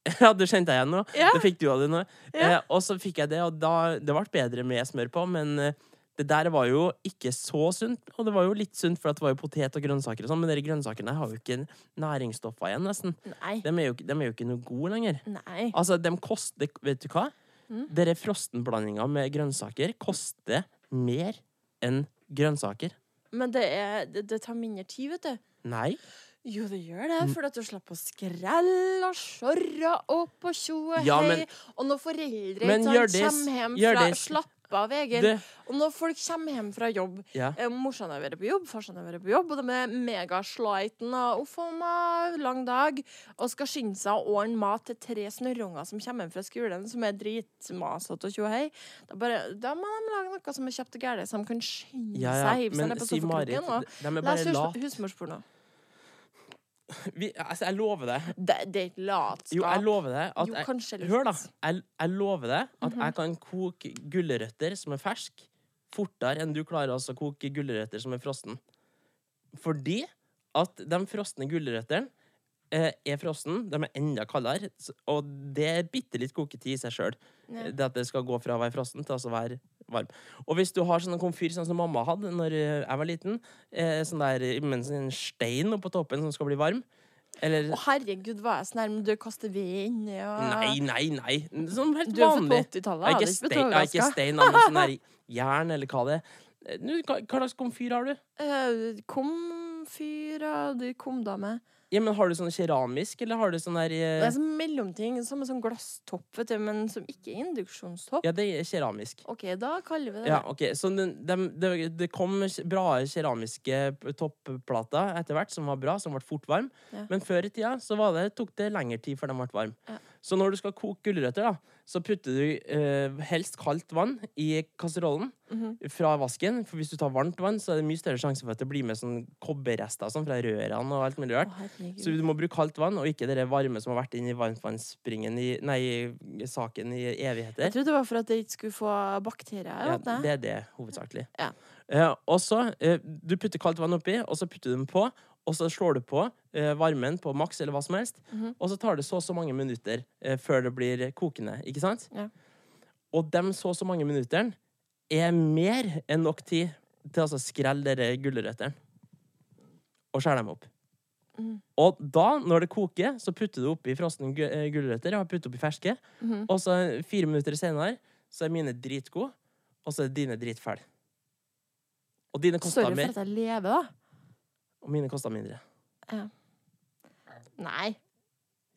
[SPEAKER 1] Ja, du kjente deg igjen nå?
[SPEAKER 2] Ja.
[SPEAKER 1] Det fikk du av det nå.
[SPEAKER 2] Ja.
[SPEAKER 1] Eh, og så fikk jeg det, og da, det ble bedre med smør på, men eh, det der var jo ikke så sunt. Og det var jo litt sunt, for at det var jo potet og grønnsaker og sånn, men de grønnsakene har jo ikke næringsstoffer igjen, nesten.
[SPEAKER 2] Nei.
[SPEAKER 1] De er jo, ikke- dem er jo ikke noe gode lenger.
[SPEAKER 2] Nei.
[SPEAKER 1] Altså, de koster Vet du hva?
[SPEAKER 2] Mm.
[SPEAKER 1] Dere frostenblandinga med grønnsaker koster mer enn grønnsaker.
[SPEAKER 2] Men det, er, det, det tar mindre tid, vet du.
[SPEAKER 1] Nei.
[SPEAKER 2] Jo, det gjør det,
[SPEAKER 1] Mm.
[SPEAKER 2] for at du slipper å skrelle og sjorre opp og tjo og hei.
[SPEAKER 1] Ja, men-
[SPEAKER 2] og når foreldre
[SPEAKER 1] Men
[SPEAKER 2] ikke sant,
[SPEAKER 1] Hjørdis,
[SPEAKER 2] kommer hjem fra
[SPEAKER 1] Hjørdis.
[SPEAKER 2] Slapp av, Egil.
[SPEAKER 1] Det,
[SPEAKER 2] Og når folk kommer hjem fra jobb
[SPEAKER 1] ja.
[SPEAKER 2] eh, Morsan har vært på jobb, farsan har vært på jobb, og de er megasleiten og uff a meg, lang dag, og skal skynde seg å ordne mat til tre snørrunger som kommer hjem fra skolen, som er dritmasete og tjo og hei. Da, bare, da må de lage noe som er kjapt og gærent, så de kan skynde
[SPEAKER 1] Ja, ja,
[SPEAKER 2] seg hive seg
[SPEAKER 1] men
[SPEAKER 2] ned på
[SPEAKER 1] Siv Marit,
[SPEAKER 2] sofakroken og
[SPEAKER 1] de er bare
[SPEAKER 2] lese
[SPEAKER 1] lat.
[SPEAKER 2] hus husmorsporno.
[SPEAKER 1] Vi, altså, jeg lover deg.
[SPEAKER 2] Det, det er ikke latskap.
[SPEAKER 1] Jo, jeg lover deg at
[SPEAKER 2] Jo,
[SPEAKER 1] jeg,
[SPEAKER 2] kanskje litt. Mhm.
[SPEAKER 1] Hør, da. Jeg, jeg lover deg at jeg kan koke gulrøtter som er ferske, fortere enn du klarer altså å koke gulrøtter som er frossen. Fordi at de frosne gulrøttene eh, er frossen, de er enda kaldere, s- og det er bitte litt koketid i seg sjøl.
[SPEAKER 2] Ja.
[SPEAKER 1] Det at det skal gå fra å være frossen til altså å være varm. Og hvis du har sånn komfyr sånn som mamma hadde Når eh, jeg var liten, eh, sånn der med en sånn stein oppå toppen som skal bli varm Eller
[SPEAKER 2] Å, herregud, hva er jeg så nærm? Du kaster vind ja.
[SPEAKER 1] Nei, nei, nei. Sånn helt
[SPEAKER 2] Du er født på
[SPEAKER 1] vanlig.
[SPEAKER 2] 80-tallet.
[SPEAKER 1] Jeg er
[SPEAKER 2] hadde
[SPEAKER 1] ikke
[SPEAKER 2] ikke blitt
[SPEAKER 1] stein, jeg er ikke
[SPEAKER 2] overrasket.
[SPEAKER 1] stein da, men sånn der jern, eller hva det er. Eh, nå, Hva hva slags komfyr har du?
[SPEAKER 2] Eh, Kom, fyra, du kom da med.
[SPEAKER 1] Ja, men Har du sånn keramisk, eller har du sånn der
[SPEAKER 2] Det
[SPEAKER 1] eh,
[SPEAKER 2] er sånn mellomting, som en sånn glasstopp, vet du, men som ikke er induksjonstopp.
[SPEAKER 1] Ja, det er keramisk.
[SPEAKER 2] OK, da kaller vi det
[SPEAKER 1] Ja, ok. Så den- dem- det det kom bra keramiske p- topplater etter hvert, som var bra, som ble fort varm.
[SPEAKER 2] Ja.
[SPEAKER 1] Men før i tida så var det, tok det lengre tid før de ble varme.
[SPEAKER 2] Ja.
[SPEAKER 1] Så når du skal koke gulrøtter, da, så putter du eh, helst kaldt vann i kasserollen
[SPEAKER 2] Mhm.
[SPEAKER 1] fra vasken. For hvis du tar varmt vann, så er det mye større sjanse for at det blir med sånn kobberrester og sånn fra rørene og alt mulig
[SPEAKER 2] det.
[SPEAKER 1] rart.
[SPEAKER 2] Å, herregud.
[SPEAKER 1] Så du må bruke kaldt vann, og ikke det varme som har vært inni varmtvannsspringen i, Nei, i saken i evigheter.
[SPEAKER 2] Jeg trodde det var for at jeg ikke skulle få bakterier.
[SPEAKER 1] Ja,
[SPEAKER 2] vet jeg.
[SPEAKER 1] det er det, hovedsakelig.
[SPEAKER 2] Ja.
[SPEAKER 1] Eh, og så eh, Du putter kaldt vann oppi, og så putter du den på. Og så slår du på eh, varmen på maks eller hva som helst.
[SPEAKER 2] Mhm.
[SPEAKER 1] Og så tar det så og så mange minutter eh, før det blir kokende. Ikke sant?
[SPEAKER 2] Ja.
[SPEAKER 1] Og de så og så mange minuttene er mer enn nok tid til å altså skrelle de gulrøttene. Og skjære dem opp.
[SPEAKER 2] Mm.
[SPEAKER 1] Og da, når det koker, så putter du oppi frosne gu- eh, gulrøtter. Jeg har puttet oppi ferske.
[SPEAKER 2] Mhm.
[SPEAKER 1] Og så fire minutter senere så er mine dritgode, og så er dine dritfæle. Og dine kosta
[SPEAKER 2] Sorry for
[SPEAKER 1] mer,
[SPEAKER 2] at jeg lever, da.
[SPEAKER 1] og mine kosta mindre.
[SPEAKER 2] Nei.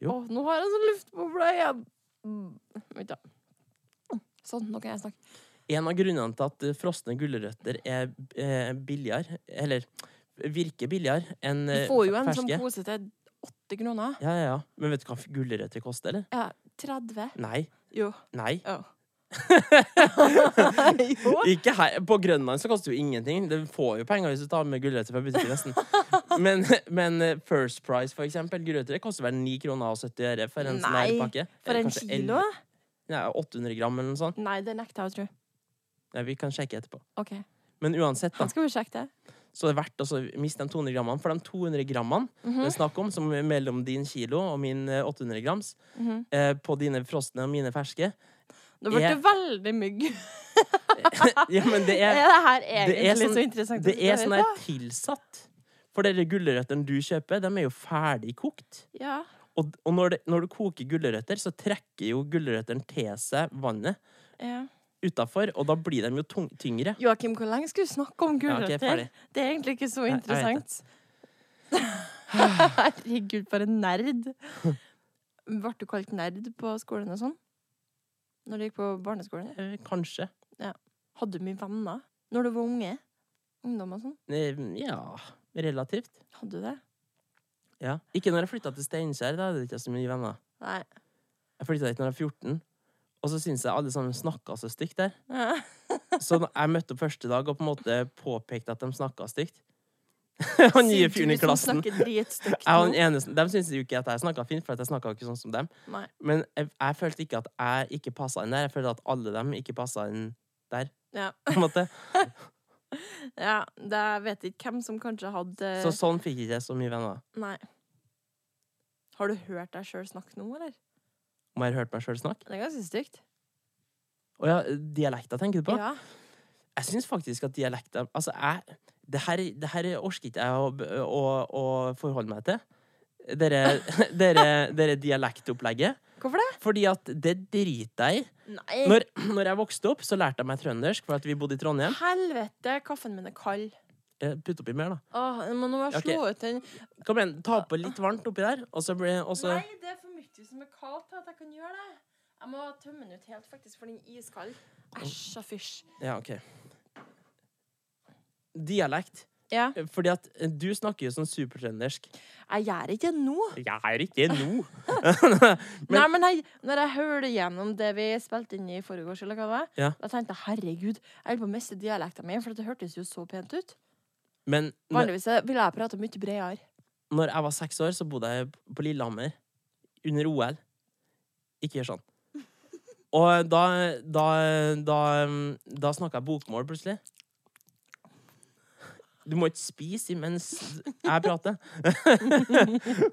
[SPEAKER 1] Jo.
[SPEAKER 2] Å, nå har jeg sånn luftboble igjen. Mm, Vent, da. Sånn, nå kan jeg snakke.
[SPEAKER 1] En av grunnene til at eh, frosne gulrøtter er eh, billigere, eller virker billigere enn
[SPEAKER 2] Du
[SPEAKER 1] eh,
[SPEAKER 2] får jo en sånn
[SPEAKER 1] ferske
[SPEAKER 2] pose til åtte kroner.
[SPEAKER 1] Ja, ja, ja. Men vet du hva gulrøtter koster, eller?
[SPEAKER 2] Ja, 30.
[SPEAKER 1] Nei.
[SPEAKER 2] Jo.
[SPEAKER 1] Nei.
[SPEAKER 2] Ja.
[SPEAKER 1] Ikke her. På Grønland så koster det jo ingenting. Du får jo penger hvis du tar med gulrøtter fra butikken, nesten. Men, men eh, First Price, for eksempel, gulrøtter det koster vel 9 kroner og 70 øre for en sånn her
[SPEAKER 2] Nei,
[SPEAKER 1] pakke.
[SPEAKER 2] For
[SPEAKER 1] Eller
[SPEAKER 2] en
[SPEAKER 1] kanskje
[SPEAKER 2] kilo?
[SPEAKER 1] 11 Nei, 800 gram eller noe sånt.
[SPEAKER 2] Nei, det nekter jeg å tro.
[SPEAKER 1] Nei, vi kan sjekke etterpå.
[SPEAKER 2] OK.
[SPEAKER 1] Men uansett, da,
[SPEAKER 2] Han skal jo sjekke det.
[SPEAKER 1] så er det verdt å så miste de 200 grammene. For de 200 grammene
[SPEAKER 2] Mhm.
[SPEAKER 1] det er snakk om, som er mellom din kilo og min eh, 800 grams,
[SPEAKER 2] Mhm.
[SPEAKER 1] eh, på dine frosne og mine ferske
[SPEAKER 2] Nå ble
[SPEAKER 1] Jeg-
[SPEAKER 2] det veldig mygg.
[SPEAKER 1] Ja, men det er
[SPEAKER 2] Er det her
[SPEAKER 1] er
[SPEAKER 2] egentlig
[SPEAKER 1] sånn-
[SPEAKER 2] så interessant? at
[SPEAKER 1] Det
[SPEAKER 2] vi
[SPEAKER 1] er
[SPEAKER 2] skal
[SPEAKER 1] sånn
[SPEAKER 2] høre
[SPEAKER 1] her tilsatt. For de gulrøttene du kjøper, de er jo ferdig kokt.
[SPEAKER 2] på? Ja.
[SPEAKER 1] Og, og når, det, når du koker gulrøtter, så trekker jo gulrøttene til seg vannet
[SPEAKER 2] ja.
[SPEAKER 1] utafor, og da blir de jo tung, tyngre.
[SPEAKER 2] Joakim, hvor lenge skal du snakke
[SPEAKER 1] Ja,
[SPEAKER 2] om
[SPEAKER 1] ok,
[SPEAKER 2] gulrøtter?
[SPEAKER 1] ferdig.
[SPEAKER 2] det er egentlig ikke så
[SPEAKER 1] jeg vet
[SPEAKER 2] interessant. Herregud, for en nerd. Ble du kalt nerd på skolen og sånn? Når du gikk på barneskolen?
[SPEAKER 1] Eh, Kanskje.
[SPEAKER 2] Hadde du mye venner når du var unge? Ungdom og sånn?
[SPEAKER 1] Eh, Ja Relativt.
[SPEAKER 2] Hadde du det?
[SPEAKER 1] Ja. Ikke når jeg flytta til Steinkjer. Da hadde jeg ikke så mye venner.
[SPEAKER 2] Nei.
[SPEAKER 1] Jeg flytta dit når jeg var 14, og så syntes jeg alle sammen snakka så stygt der.
[SPEAKER 2] Ja.
[SPEAKER 1] Så da jeg møtte opp første dag og på en måte påpekte at de snakka stygt. Han nye
[SPEAKER 2] Sier du
[SPEAKER 1] fyren i
[SPEAKER 2] som
[SPEAKER 1] klassen.
[SPEAKER 2] snakker dritstygt
[SPEAKER 1] Jeg var den
[SPEAKER 2] nå.
[SPEAKER 1] eneste, de syntes jo ikke at jeg snakka fint, for at jeg snakka ikke sånn som dem.
[SPEAKER 2] Nei.
[SPEAKER 1] Men jeg, jeg følte ikke at jeg ikke passa inn der. Jeg følte at alle dem ikke passa inn der.
[SPEAKER 2] Ja.
[SPEAKER 1] På en måte.
[SPEAKER 2] ja, det jeg vet ikke hvem som kanskje hadde
[SPEAKER 1] Så sånn fikk jeg ikke så mye venner.
[SPEAKER 2] Nei. Har du hørt deg sjøl snakke nå, eller?
[SPEAKER 1] Om jeg har hørt meg sjøl snakke.
[SPEAKER 2] Det er ganske stygt.
[SPEAKER 1] Å ja, dialekter tenker du på?
[SPEAKER 2] Ja.
[SPEAKER 1] Jeg syns faktisk at dialekter Altså, jeg Det her, det her orker ikke jeg å, b- å, å forholde meg til. Dere, dere, dere dialektopplegget.
[SPEAKER 2] Hvorfor det?
[SPEAKER 1] Fordi at det driter jeg i.
[SPEAKER 2] Nei.
[SPEAKER 1] Når, når jeg vokste opp, så lærte jeg meg trøndersk, for at vi bodde i Trondheim.
[SPEAKER 2] Helvete, kaffen min er kald.
[SPEAKER 1] Eh, Putt oppi mer, da.
[SPEAKER 2] Åh, jeg må nå bare slå ut den.
[SPEAKER 1] Kom igjen, ta på litt varmt oppi der, og så blir og så-
[SPEAKER 2] Nei, det er for mye som er kaldt til at jeg kan gjøre det. Jeg må tømme den ut helt, faktisk, for den er iskald. Æsj og fysj.
[SPEAKER 1] Ja, OK. Dialekt.
[SPEAKER 2] Ja.
[SPEAKER 1] Fordi at du snakker jo sånn supertrøndersk.
[SPEAKER 2] Jeg gjør ikke det nå.
[SPEAKER 1] Jeg er ikke nå. Men-
[SPEAKER 2] Nei, men jeg, når jeg hører gjennom det vi spilte inn i forgårs, eller hva det var,
[SPEAKER 1] Ja.
[SPEAKER 2] da tenkte jeg herregud, jeg holder på å miste dialekten min, for det hørtes jo så pent ut.
[SPEAKER 1] Men når,
[SPEAKER 2] Vanligvis ville jeg prate mye bredere.
[SPEAKER 1] når jeg var seks år, så bodde jeg på Lillehammer under OL. Ikke gjør sånn. Og da Da, da, da snakka jeg bokmål plutselig. Du må ikke spise imens jeg prater.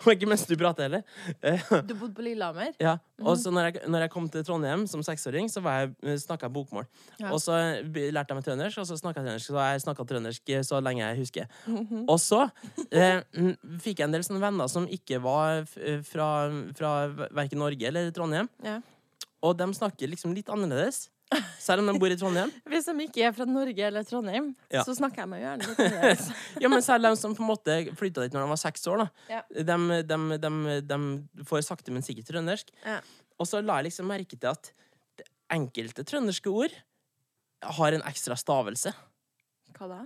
[SPEAKER 1] Og ikke mens du prater heller.
[SPEAKER 2] Du bodde på Lillehammer?
[SPEAKER 1] Ja, og så når jeg, når jeg kom til Trondheim som seksåring, så var jeg, snakka jeg bokmål.
[SPEAKER 2] Ja.
[SPEAKER 1] Og så be- lærte jeg meg trøndersk, og så snakka jeg trøndersk. Så jeg snakket trøndersk eh, så lenge jeg husker. Og så eh, mm, fikk jeg en del sånne venner som ikke var f eh, fra, fra verken Norge eller Trondheim.
[SPEAKER 2] Ja.
[SPEAKER 1] Og de snakker liksom litt annerledes, selv om de bor i Trondheim.
[SPEAKER 2] Hvis de ikke er fra Norge eller Trondheim,
[SPEAKER 1] Ja.
[SPEAKER 2] så snakker jeg meg gjerne litt annerledes.
[SPEAKER 1] Ja, men selv de som på en måte flytta dit når de var seks år, da.
[SPEAKER 2] Ja.
[SPEAKER 1] De, de, de, de får sakte, men sikkert trøndersk.
[SPEAKER 2] Ja.
[SPEAKER 1] Og så la jeg liksom merke til at det enkelte trønderske ord har en ekstra stavelse.
[SPEAKER 2] Hva da?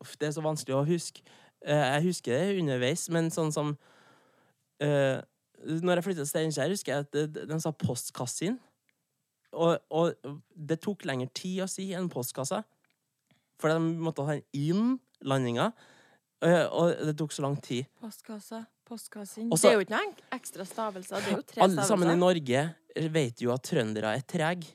[SPEAKER 1] Uff, det er så vanskelig å huske. Eh, Jeg husker det underveis, men sånn som eh, Når jeg flytta til Steinkjer, husker jeg at det- de sa 'postkassin'. Og, og det tok lengre tid å si enn 'postkassa'. For de måtte ha en inn-landinga. eh, Og det tok så lang tid.
[SPEAKER 2] Postkasse, postkassen.
[SPEAKER 1] Også-
[SPEAKER 2] det er jo ikke noen enk- ekstra stavelser, det er jo tre
[SPEAKER 1] Alle sammen i
[SPEAKER 2] stavelser.
[SPEAKER 1] Norge vet jo at trøndere er trege.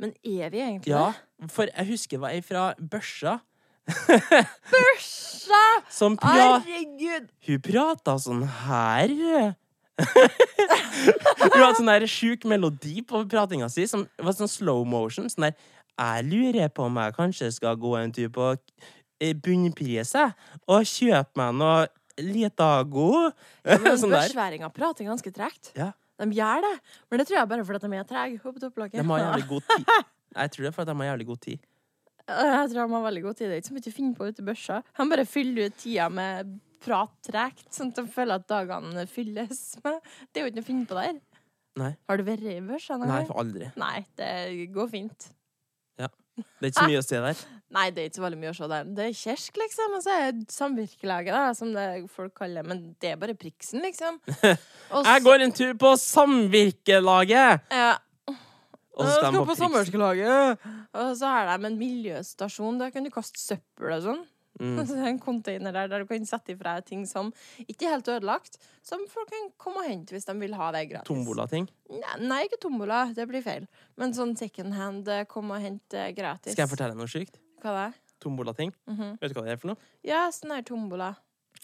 [SPEAKER 2] Men er vi egentlig
[SPEAKER 1] Ja, for jeg husker ei fra Børsa
[SPEAKER 2] det? Børsa!
[SPEAKER 1] som pra
[SPEAKER 2] Herregud!
[SPEAKER 1] Hun prata sånn her hun. Hun hadde sånn der sjuk melodi på pratinga si, som var sånn slow motion. Sånn der Jeg lurer på om jeg kanskje skal gå en tur på eh, bunnpriset og kjøpe meg noe Litago.
[SPEAKER 2] Men
[SPEAKER 1] sånn der.
[SPEAKER 2] børsværinger prater ganske tregt.
[SPEAKER 1] Ja.
[SPEAKER 2] De gjør det, men det tror jeg bare fordi at de er trege. Hopp til opplaget.
[SPEAKER 1] De har jævlig god tid. Jeg tror det er fordi de har jævlig god tid.
[SPEAKER 2] Jeg tror de har veldig god tid. Det er ikke så mye å finne på ute i børsa. Han bare fyller ut tida med prat tregt, sånn at de føler at dagene fylles med Det er jo ikke noe å finne på der.
[SPEAKER 1] Nei.
[SPEAKER 2] Har du vært i børsa noen
[SPEAKER 1] Nei,
[SPEAKER 2] gang?
[SPEAKER 1] for aldri.
[SPEAKER 2] Nei, det går fint.
[SPEAKER 1] Det er ikke så mye å se der.
[SPEAKER 2] Nei, det er ikke så veldig mye å se der. Det er kirk, liksom, og så er det samvirkelaget, da, som det folk kaller det. Men det er bare priksen, liksom. Og
[SPEAKER 1] Jeg
[SPEAKER 2] så-
[SPEAKER 1] går en tur på Samvirkelaget!
[SPEAKER 2] Ja,
[SPEAKER 1] Og så skal de på Priksen.
[SPEAKER 2] samvirkelaget! Og så har de en miljøstasjon. Der kan du kaste søppel og sånn.
[SPEAKER 1] Mm.
[SPEAKER 2] Så det er en container der der du kan sette ifra deg ting som ikke er helt ødelagt, som folk kan komme og hente hvis de vil ha det gratis.
[SPEAKER 1] Tombola-ting.
[SPEAKER 2] Nei, nei, ikke tombola. Det blir feil. Men sånn second hand, eh, kom og hent eh, gratis.
[SPEAKER 1] Skal jeg fortelle deg noe sjukt?
[SPEAKER 2] Hva det er?
[SPEAKER 1] Tombola-ting.
[SPEAKER 2] Mhm.
[SPEAKER 1] Vet du hva det er for noe?
[SPEAKER 2] Ja, sånn her tombola.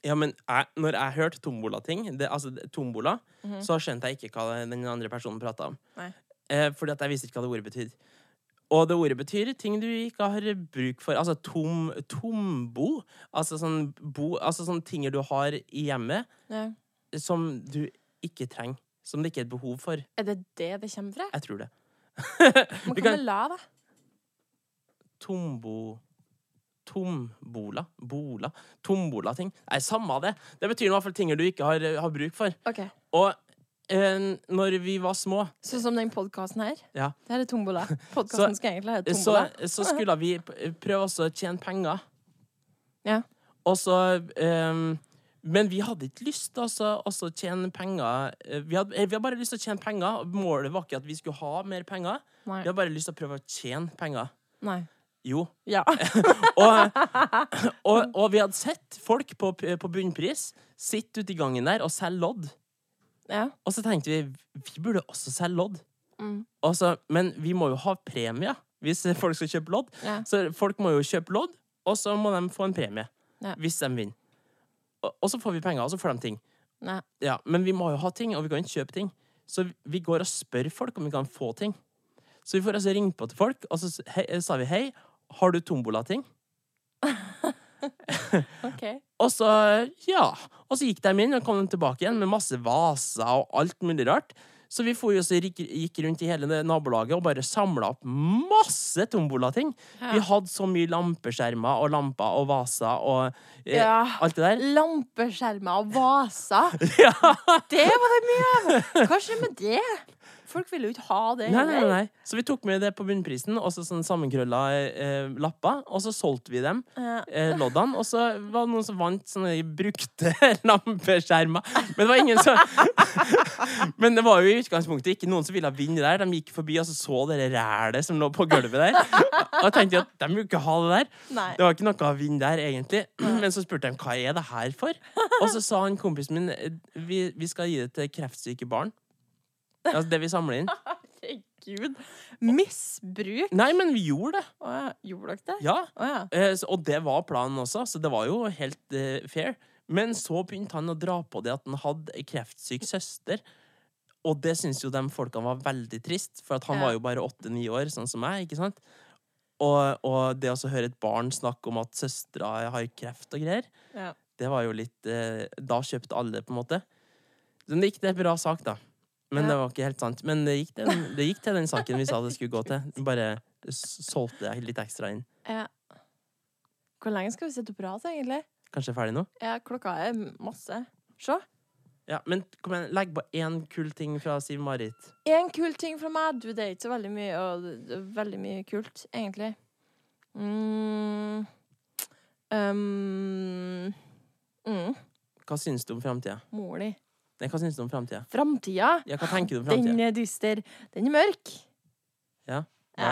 [SPEAKER 1] Ja, men jeg, når jeg hørte tombola-ting, det- altså det- tombola, så skjønte jeg ikke hva den andre personen prata om.
[SPEAKER 2] Nei.
[SPEAKER 1] Eh, fordi at jeg visste ikke hva det ordet betyr. Og det ordet betyr ting du ikke har bruk for. Altså tom, tombo. Altså sånn bo Altså sånne ting du har i hjemmet
[SPEAKER 2] Ja.
[SPEAKER 1] som du ikke trenger. Som det ikke er et behov for.
[SPEAKER 2] Er det det det kommer fra?
[SPEAKER 1] Jeg tror det.
[SPEAKER 2] Man
[SPEAKER 1] Du
[SPEAKER 2] kan
[SPEAKER 1] kan
[SPEAKER 2] vel la, da.
[SPEAKER 1] Tombo... Tombola? Bola? Tombola-ting? Nei, samme det. Det betyr i hvert fall ting du ikke har, har bruk for.
[SPEAKER 2] Ok,
[SPEAKER 1] Og eh, når vi var små,
[SPEAKER 2] Sånn som den podkasten her.
[SPEAKER 1] Ja.
[SPEAKER 2] Det her er tombola. Podkasten
[SPEAKER 1] Så-
[SPEAKER 2] skal egentlig hete
[SPEAKER 1] så,
[SPEAKER 2] Tombola.
[SPEAKER 1] så skulle vi p- prøve også å tjene penger.
[SPEAKER 2] Ja.
[SPEAKER 1] Og så eh, Men vi hadde ikke lyst til også, også å tjene penger. Eh, Vi hadde, eh, vi hadde bare lyst til å tjene penger. og Målet var ikke at vi skulle ha mer penger.
[SPEAKER 2] Nei.
[SPEAKER 1] Vi hadde bare lyst til å prøve å tjene penger.
[SPEAKER 2] Nei.
[SPEAKER 1] Jo.
[SPEAKER 2] Ja.
[SPEAKER 1] Og, og, og vi hadde sett folk på, p- på bunnpris sitte ute i gangen der og selge lodd.
[SPEAKER 2] ja.
[SPEAKER 1] Og så tenkte vi vi burde også selge lodd.
[SPEAKER 2] Mm.
[SPEAKER 1] Og så- men vi må jo ha premie hvis folk skal kjøpe lodd.
[SPEAKER 2] Ja.
[SPEAKER 1] Så folk må jo kjøpe lodd, og så må de få en premie
[SPEAKER 2] Ja.
[SPEAKER 1] hvis de vinner. Og, og så får vi penger, og så får de ting.
[SPEAKER 2] Nei.
[SPEAKER 1] Ja, men vi må jo ha ting, og vi kan ikke kjøpe ting. Så vi går og spør folk om vi kan få ting. Så vi får altså ringt på til folk, og så s- hei, sa vi hei, har du tombola-ting?
[SPEAKER 2] OK.
[SPEAKER 1] Og så, ja. Og så gikk de inn, og kom de tilbake igjen med masse vaser og alt mulig rart. Så vi for jo så gikk, gikk rundt i hele det nabolaget og bare samla opp masse tombolating.
[SPEAKER 2] Ja.
[SPEAKER 1] Vi hadde så mye lampeskjermer og lamper og vaser og eh,
[SPEAKER 2] Ja.
[SPEAKER 1] alt det der.
[SPEAKER 2] Lampeskjermer og vaser.
[SPEAKER 1] Ja.
[SPEAKER 2] Det var det mye av! Hva skjer med det? Folk vil jo ikke ha det
[SPEAKER 1] Nei, nei,
[SPEAKER 2] heller.
[SPEAKER 1] nei. Så vi tok med det på bunnprisen, og så sånn sammenkrølla eh, lapper, og så solgte vi dem.
[SPEAKER 2] Ja.
[SPEAKER 1] eh, loddene, og så var det noen som vant sånne brukte lampeskjermer. Men det var ingen som Men det var jo i utgangspunktet ikke noen som ville vinne der. De gikk forbi og så, så det rælet som lå på gulvet der. Og jeg tenkte at de vil jo ikke ha det der.
[SPEAKER 2] Nei.
[SPEAKER 1] Det var ikke noe å vinne der, egentlig. Men så spurte de hva er det her for? Og så sa han kompisen min eh, vi, vi skal gi det til kreftsyke barn. Altså det vi samler inn.
[SPEAKER 2] Herregud. Misbruk.
[SPEAKER 1] Nei, men vi gjorde det.
[SPEAKER 2] Å ja. Gjorde dere det?
[SPEAKER 1] Ja.
[SPEAKER 2] Å ja.
[SPEAKER 1] Eh, så, og det var planen også, så det var jo helt eh, fair. Men så begynte han å dra på det at han hadde ei kreftsyk søster. Og det syns jo de folkene var veldig trist, for at han
[SPEAKER 2] Ja.
[SPEAKER 1] var jo bare åtte-ni år, sånn som meg. ikke sant? Og, og det å så høre et barn snakke om at søstera har kreft og greier,
[SPEAKER 2] Ja.
[SPEAKER 1] det var jo litt eh, Da kjøpte alle, på en måte. Så det gikk til en bra sak, da. Men
[SPEAKER 2] Ja.
[SPEAKER 1] det var ikke helt sant. Men det gikk, til den, det gikk til den saken vi sa det skulle gå til. Bare s- solgte jeg litt ekstra inn.
[SPEAKER 2] ja. Eh. Hvor lenge skal vi sitte og prate, egentlig?
[SPEAKER 1] Kanskje ferdig nå?
[SPEAKER 2] Ja, klokka er masse. Se.
[SPEAKER 1] Ja, men kom igjen, legg på én kul ting fra Siv-Marit.
[SPEAKER 2] En kul ting fra meg. Du, det er ikke så veldig mye, og det- det er veldig mye kult, egentlig. Mm. Um. Mm.
[SPEAKER 1] Hva syns du om framtida?
[SPEAKER 2] Mor di.
[SPEAKER 1] Nei, hva syns du om framtida?
[SPEAKER 2] Framtida.
[SPEAKER 1] Ja, hva tenker du om
[SPEAKER 2] Den
[SPEAKER 1] framtida?
[SPEAKER 2] er dyster. Den er mørk.
[SPEAKER 1] Ja.
[SPEAKER 2] Ja.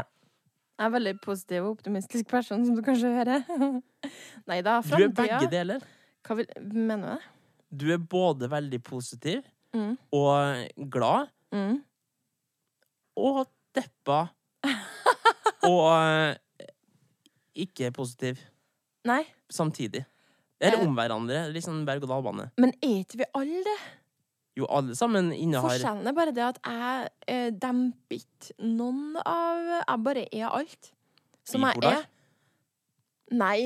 [SPEAKER 2] Jeg er en veldig positiv og optimistisk person, som du kanskje hører. Nei da,
[SPEAKER 1] Du er begge
[SPEAKER 2] framtida
[SPEAKER 1] deler.
[SPEAKER 2] Hva vil Mener du det?
[SPEAKER 1] Du er både veldig positiv
[SPEAKER 2] Mm.
[SPEAKER 1] og glad
[SPEAKER 2] Mm.
[SPEAKER 1] og deppa og eh, ikke positiv
[SPEAKER 2] Nei.
[SPEAKER 1] samtidig. Eller
[SPEAKER 2] Eh.
[SPEAKER 1] om hverandre. Litt sånn berg-og-dal-bane.
[SPEAKER 2] Men er ikke vi alle det?
[SPEAKER 1] Jo, alle sammen innehar
[SPEAKER 2] Forskjellen er bare det at jeg eh, demper ikke noen av Jeg bare er alt. Som jeg
[SPEAKER 1] Bipolar?
[SPEAKER 2] er. Nei.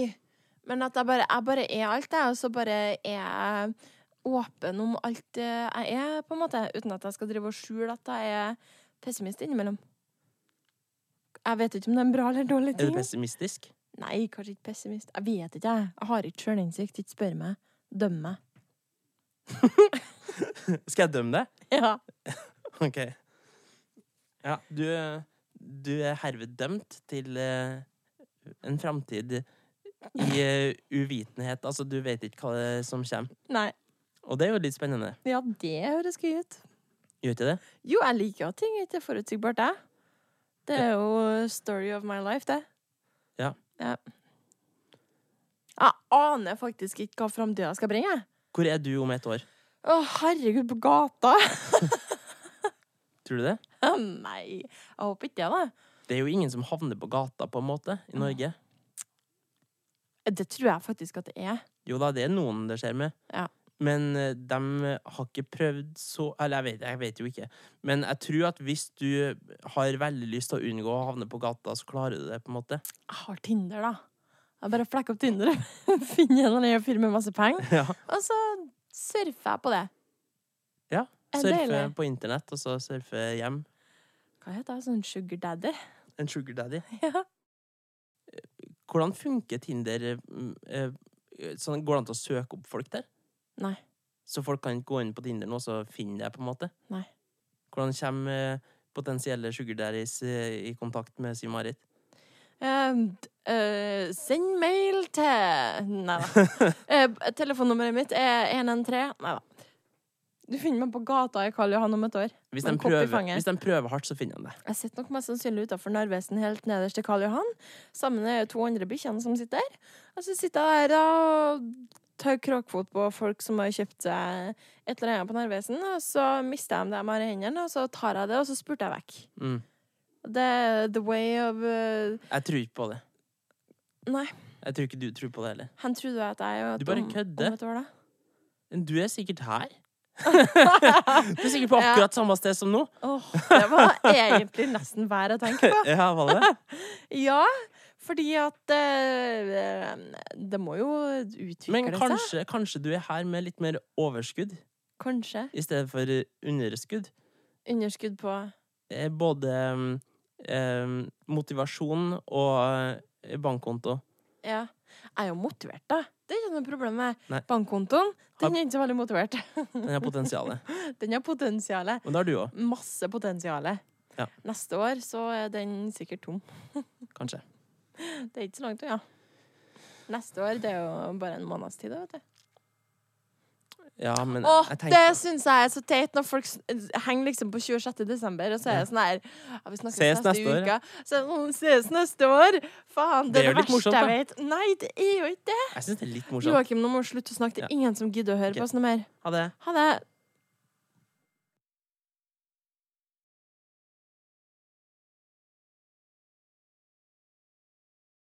[SPEAKER 2] Men at jeg bare, jeg bare er alt, jeg. Og så bare er jeg åpen om alt eh, jeg er, på en måte. Uten at jeg skal drive og skjule at jeg er pessimist innimellom. Jeg vet ikke om det er en bra eller dårlig
[SPEAKER 1] Er du
[SPEAKER 2] ting.
[SPEAKER 1] pessimistisk?
[SPEAKER 2] Nei, kanskje ikke pessimist. Jeg vet ikke, jeg. Jeg har ikke sjølinnsikt. Ikke spør meg. Døm meg.
[SPEAKER 1] Skal jeg dømme deg?
[SPEAKER 2] Ja.
[SPEAKER 1] Ok. Ja, du, du er herved dømt til eh, en framtid i eh, uvitenhet. Altså, du vet ikke hva det er som kommer.
[SPEAKER 2] Nei.
[SPEAKER 1] Og det er jo litt spennende.
[SPEAKER 2] Ja, det høres gøy ut.
[SPEAKER 1] Gjør ikke det?
[SPEAKER 2] Jo, jeg liker at ting ikke er forutsigbart, jeg. Det er jo story of my life, det.
[SPEAKER 1] Ja.
[SPEAKER 2] ja. Jeg aner faktisk ikke hva framtida skal bringe. jeg.
[SPEAKER 1] Hvor er du om et år?
[SPEAKER 2] Å, herregud, på gata!
[SPEAKER 1] Tror du det?
[SPEAKER 2] Nei, jeg håper ikke det, da.
[SPEAKER 1] Det er jo ingen som havner på gata, på en måte, i Norge.
[SPEAKER 2] Det tror jeg faktisk at det er.
[SPEAKER 1] Jo da, det er noen det skjer med.
[SPEAKER 2] Ja.
[SPEAKER 1] Men de har ikke prøvd så Eller jeg vet, jeg vet jo ikke. Men jeg tror at hvis du har veldig lyst til å unngå å havne på gata, så klarer du det. på en måte.
[SPEAKER 2] Jeg har Tinder, da. Jeg bare flekker opp Tinder og finner en eller annen fyr med masse penger,
[SPEAKER 1] Ja.
[SPEAKER 2] og så surfer jeg på det.
[SPEAKER 1] ja.
[SPEAKER 2] Er det
[SPEAKER 1] Surfe
[SPEAKER 2] deilig?
[SPEAKER 1] på internett, og så surfe hjem.
[SPEAKER 2] Hva heter det? Sånn sugar daddy?
[SPEAKER 1] En sugar daddy.
[SPEAKER 2] Ja.
[SPEAKER 1] Hvordan funker Tinder? eh, eh, Sånn, går det an til å søke opp folk der?
[SPEAKER 2] Nei.
[SPEAKER 1] Så folk kan ikke gå inn på Tinder nå og finne deg, på en måte?
[SPEAKER 2] Nei.
[SPEAKER 1] Hvordan kommer eh, potensielle sugar daddies eh, i kontakt med Siv-Marit?
[SPEAKER 2] Ehm, d- eh, send mail til Nei da. Eh, telefonnummeret mitt er 113. Nei da. Du finner meg på gata i Karl Johan om et år.
[SPEAKER 1] Hvis,
[SPEAKER 2] Med
[SPEAKER 1] de
[SPEAKER 2] en kopp i
[SPEAKER 1] prøver-
[SPEAKER 2] fanget.
[SPEAKER 1] hvis de prøver hardt, så finner de deg.
[SPEAKER 2] Jeg sitter nok mest sannsynlig utafor Narvesen, helt nederst til Karl Johan. Sammen med to andre bikkjene som sitter der. Og så sitter jeg der da, og tar kråkfot på folk som har kjøpt seg et eller annet på Narvesen. Og så mister jeg dem jeg har i hendene, og så tar jeg det, og så spurter jeg vekk.
[SPEAKER 1] Mm.
[SPEAKER 2] Det er the way of eh,
[SPEAKER 1] Jeg tror ikke på det.
[SPEAKER 2] Nei,
[SPEAKER 1] Jeg tror ikke du tror på det heller.
[SPEAKER 2] han trodde jeg at jeg er
[SPEAKER 1] Du bare
[SPEAKER 2] om-
[SPEAKER 1] kødder.
[SPEAKER 2] Om et år, da.
[SPEAKER 1] Men du er sikkert her. du er sikkert på
[SPEAKER 2] Ja.
[SPEAKER 1] akkurat samme sted som nå.
[SPEAKER 2] Åh, det var egentlig nesten hver jeg tenkte på.
[SPEAKER 1] Ja, var det det?
[SPEAKER 2] Ja, fordi at eh, Det må jo utvikle
[SPEAKER 1] Men
[SPEAKER 2] seg.
[SPEAKER 1] kanskje, kanskje du er her med litt mer overskudd
[SPEAKER 2] Kanskje.
[SPEAKER 1] i stedet for underskudd.
[SPEAKER 2] Underskudd på
[SPEAKER 1] Eh, Både mm, eh, motivasjon og eh, bankkonto.
[SPEAKER 2] Ja. Jeg er jo motivert, da. Det er ikke noe problem med
[SPEAKER 1] Nei.
[SPEAKER 2] bankkontoen.
[SPEAKER 1] Har-
[SPEAKER 2] Den er ikke så veldig motivert.
[SPEAKER 1] Den har potensialet.
[SPEAKER 2] Den har potensialet.
[SPEAKER 1] Men det har du òg,
[SPEAKER 2] Masse potensialet.
[SPEAKER 1] Ja.
[SPEAKER 2] Neste år så er den sikkert tom.
[SPEAKER 1] kanskje.
[SPEAKER 2] Det er ikke så langt unna. Neste år, det er jo bare en måneds tid, da, vet du.
[SPEAKER 1] Ja, men
[SPEAKER 2] Åh,
[SPEAKER 1] jeg
[SPEAKER 2] det
[SPEAKER 1] tenker
[SPEAKER 2] syns jeg er så teit når folk s- henger liksom på 26. desember, og så er det sånn her ja, Vi snakkes
[SPEAKER 1] Ses
[SPEAKER 2] neste,
[SPEAKER 1] neste år,
[SPEAKER 2] uke. Så er det sånn, ses neste år! Faen, det
[SPEAKER 1] Det er
[SPEAKER 2] er det
[SPEAKER 1] jo litt
[SPEAKER 2] verste
[SPEAKER 1] morsomt,
[SPEAKER 2] jeg
[SPEAKER 1] da.
[SPEAKER 2] vet. Nei, det er jo ikke det.
[SPEAKER 1] Jeg syns det er litt morsomt.
[SPEAKER 2] Joakim, nå må du slutte å snakke.
[SPEAKER 1] Ja.
[SPEAKER 2] Det er ingen som gidder å høre
[SPEAKER 1] Ok.
[SPEAKER 2] på oss noe mer.
[SPEAKER 1] Ha det.
[SPEAKER 2] Ha det.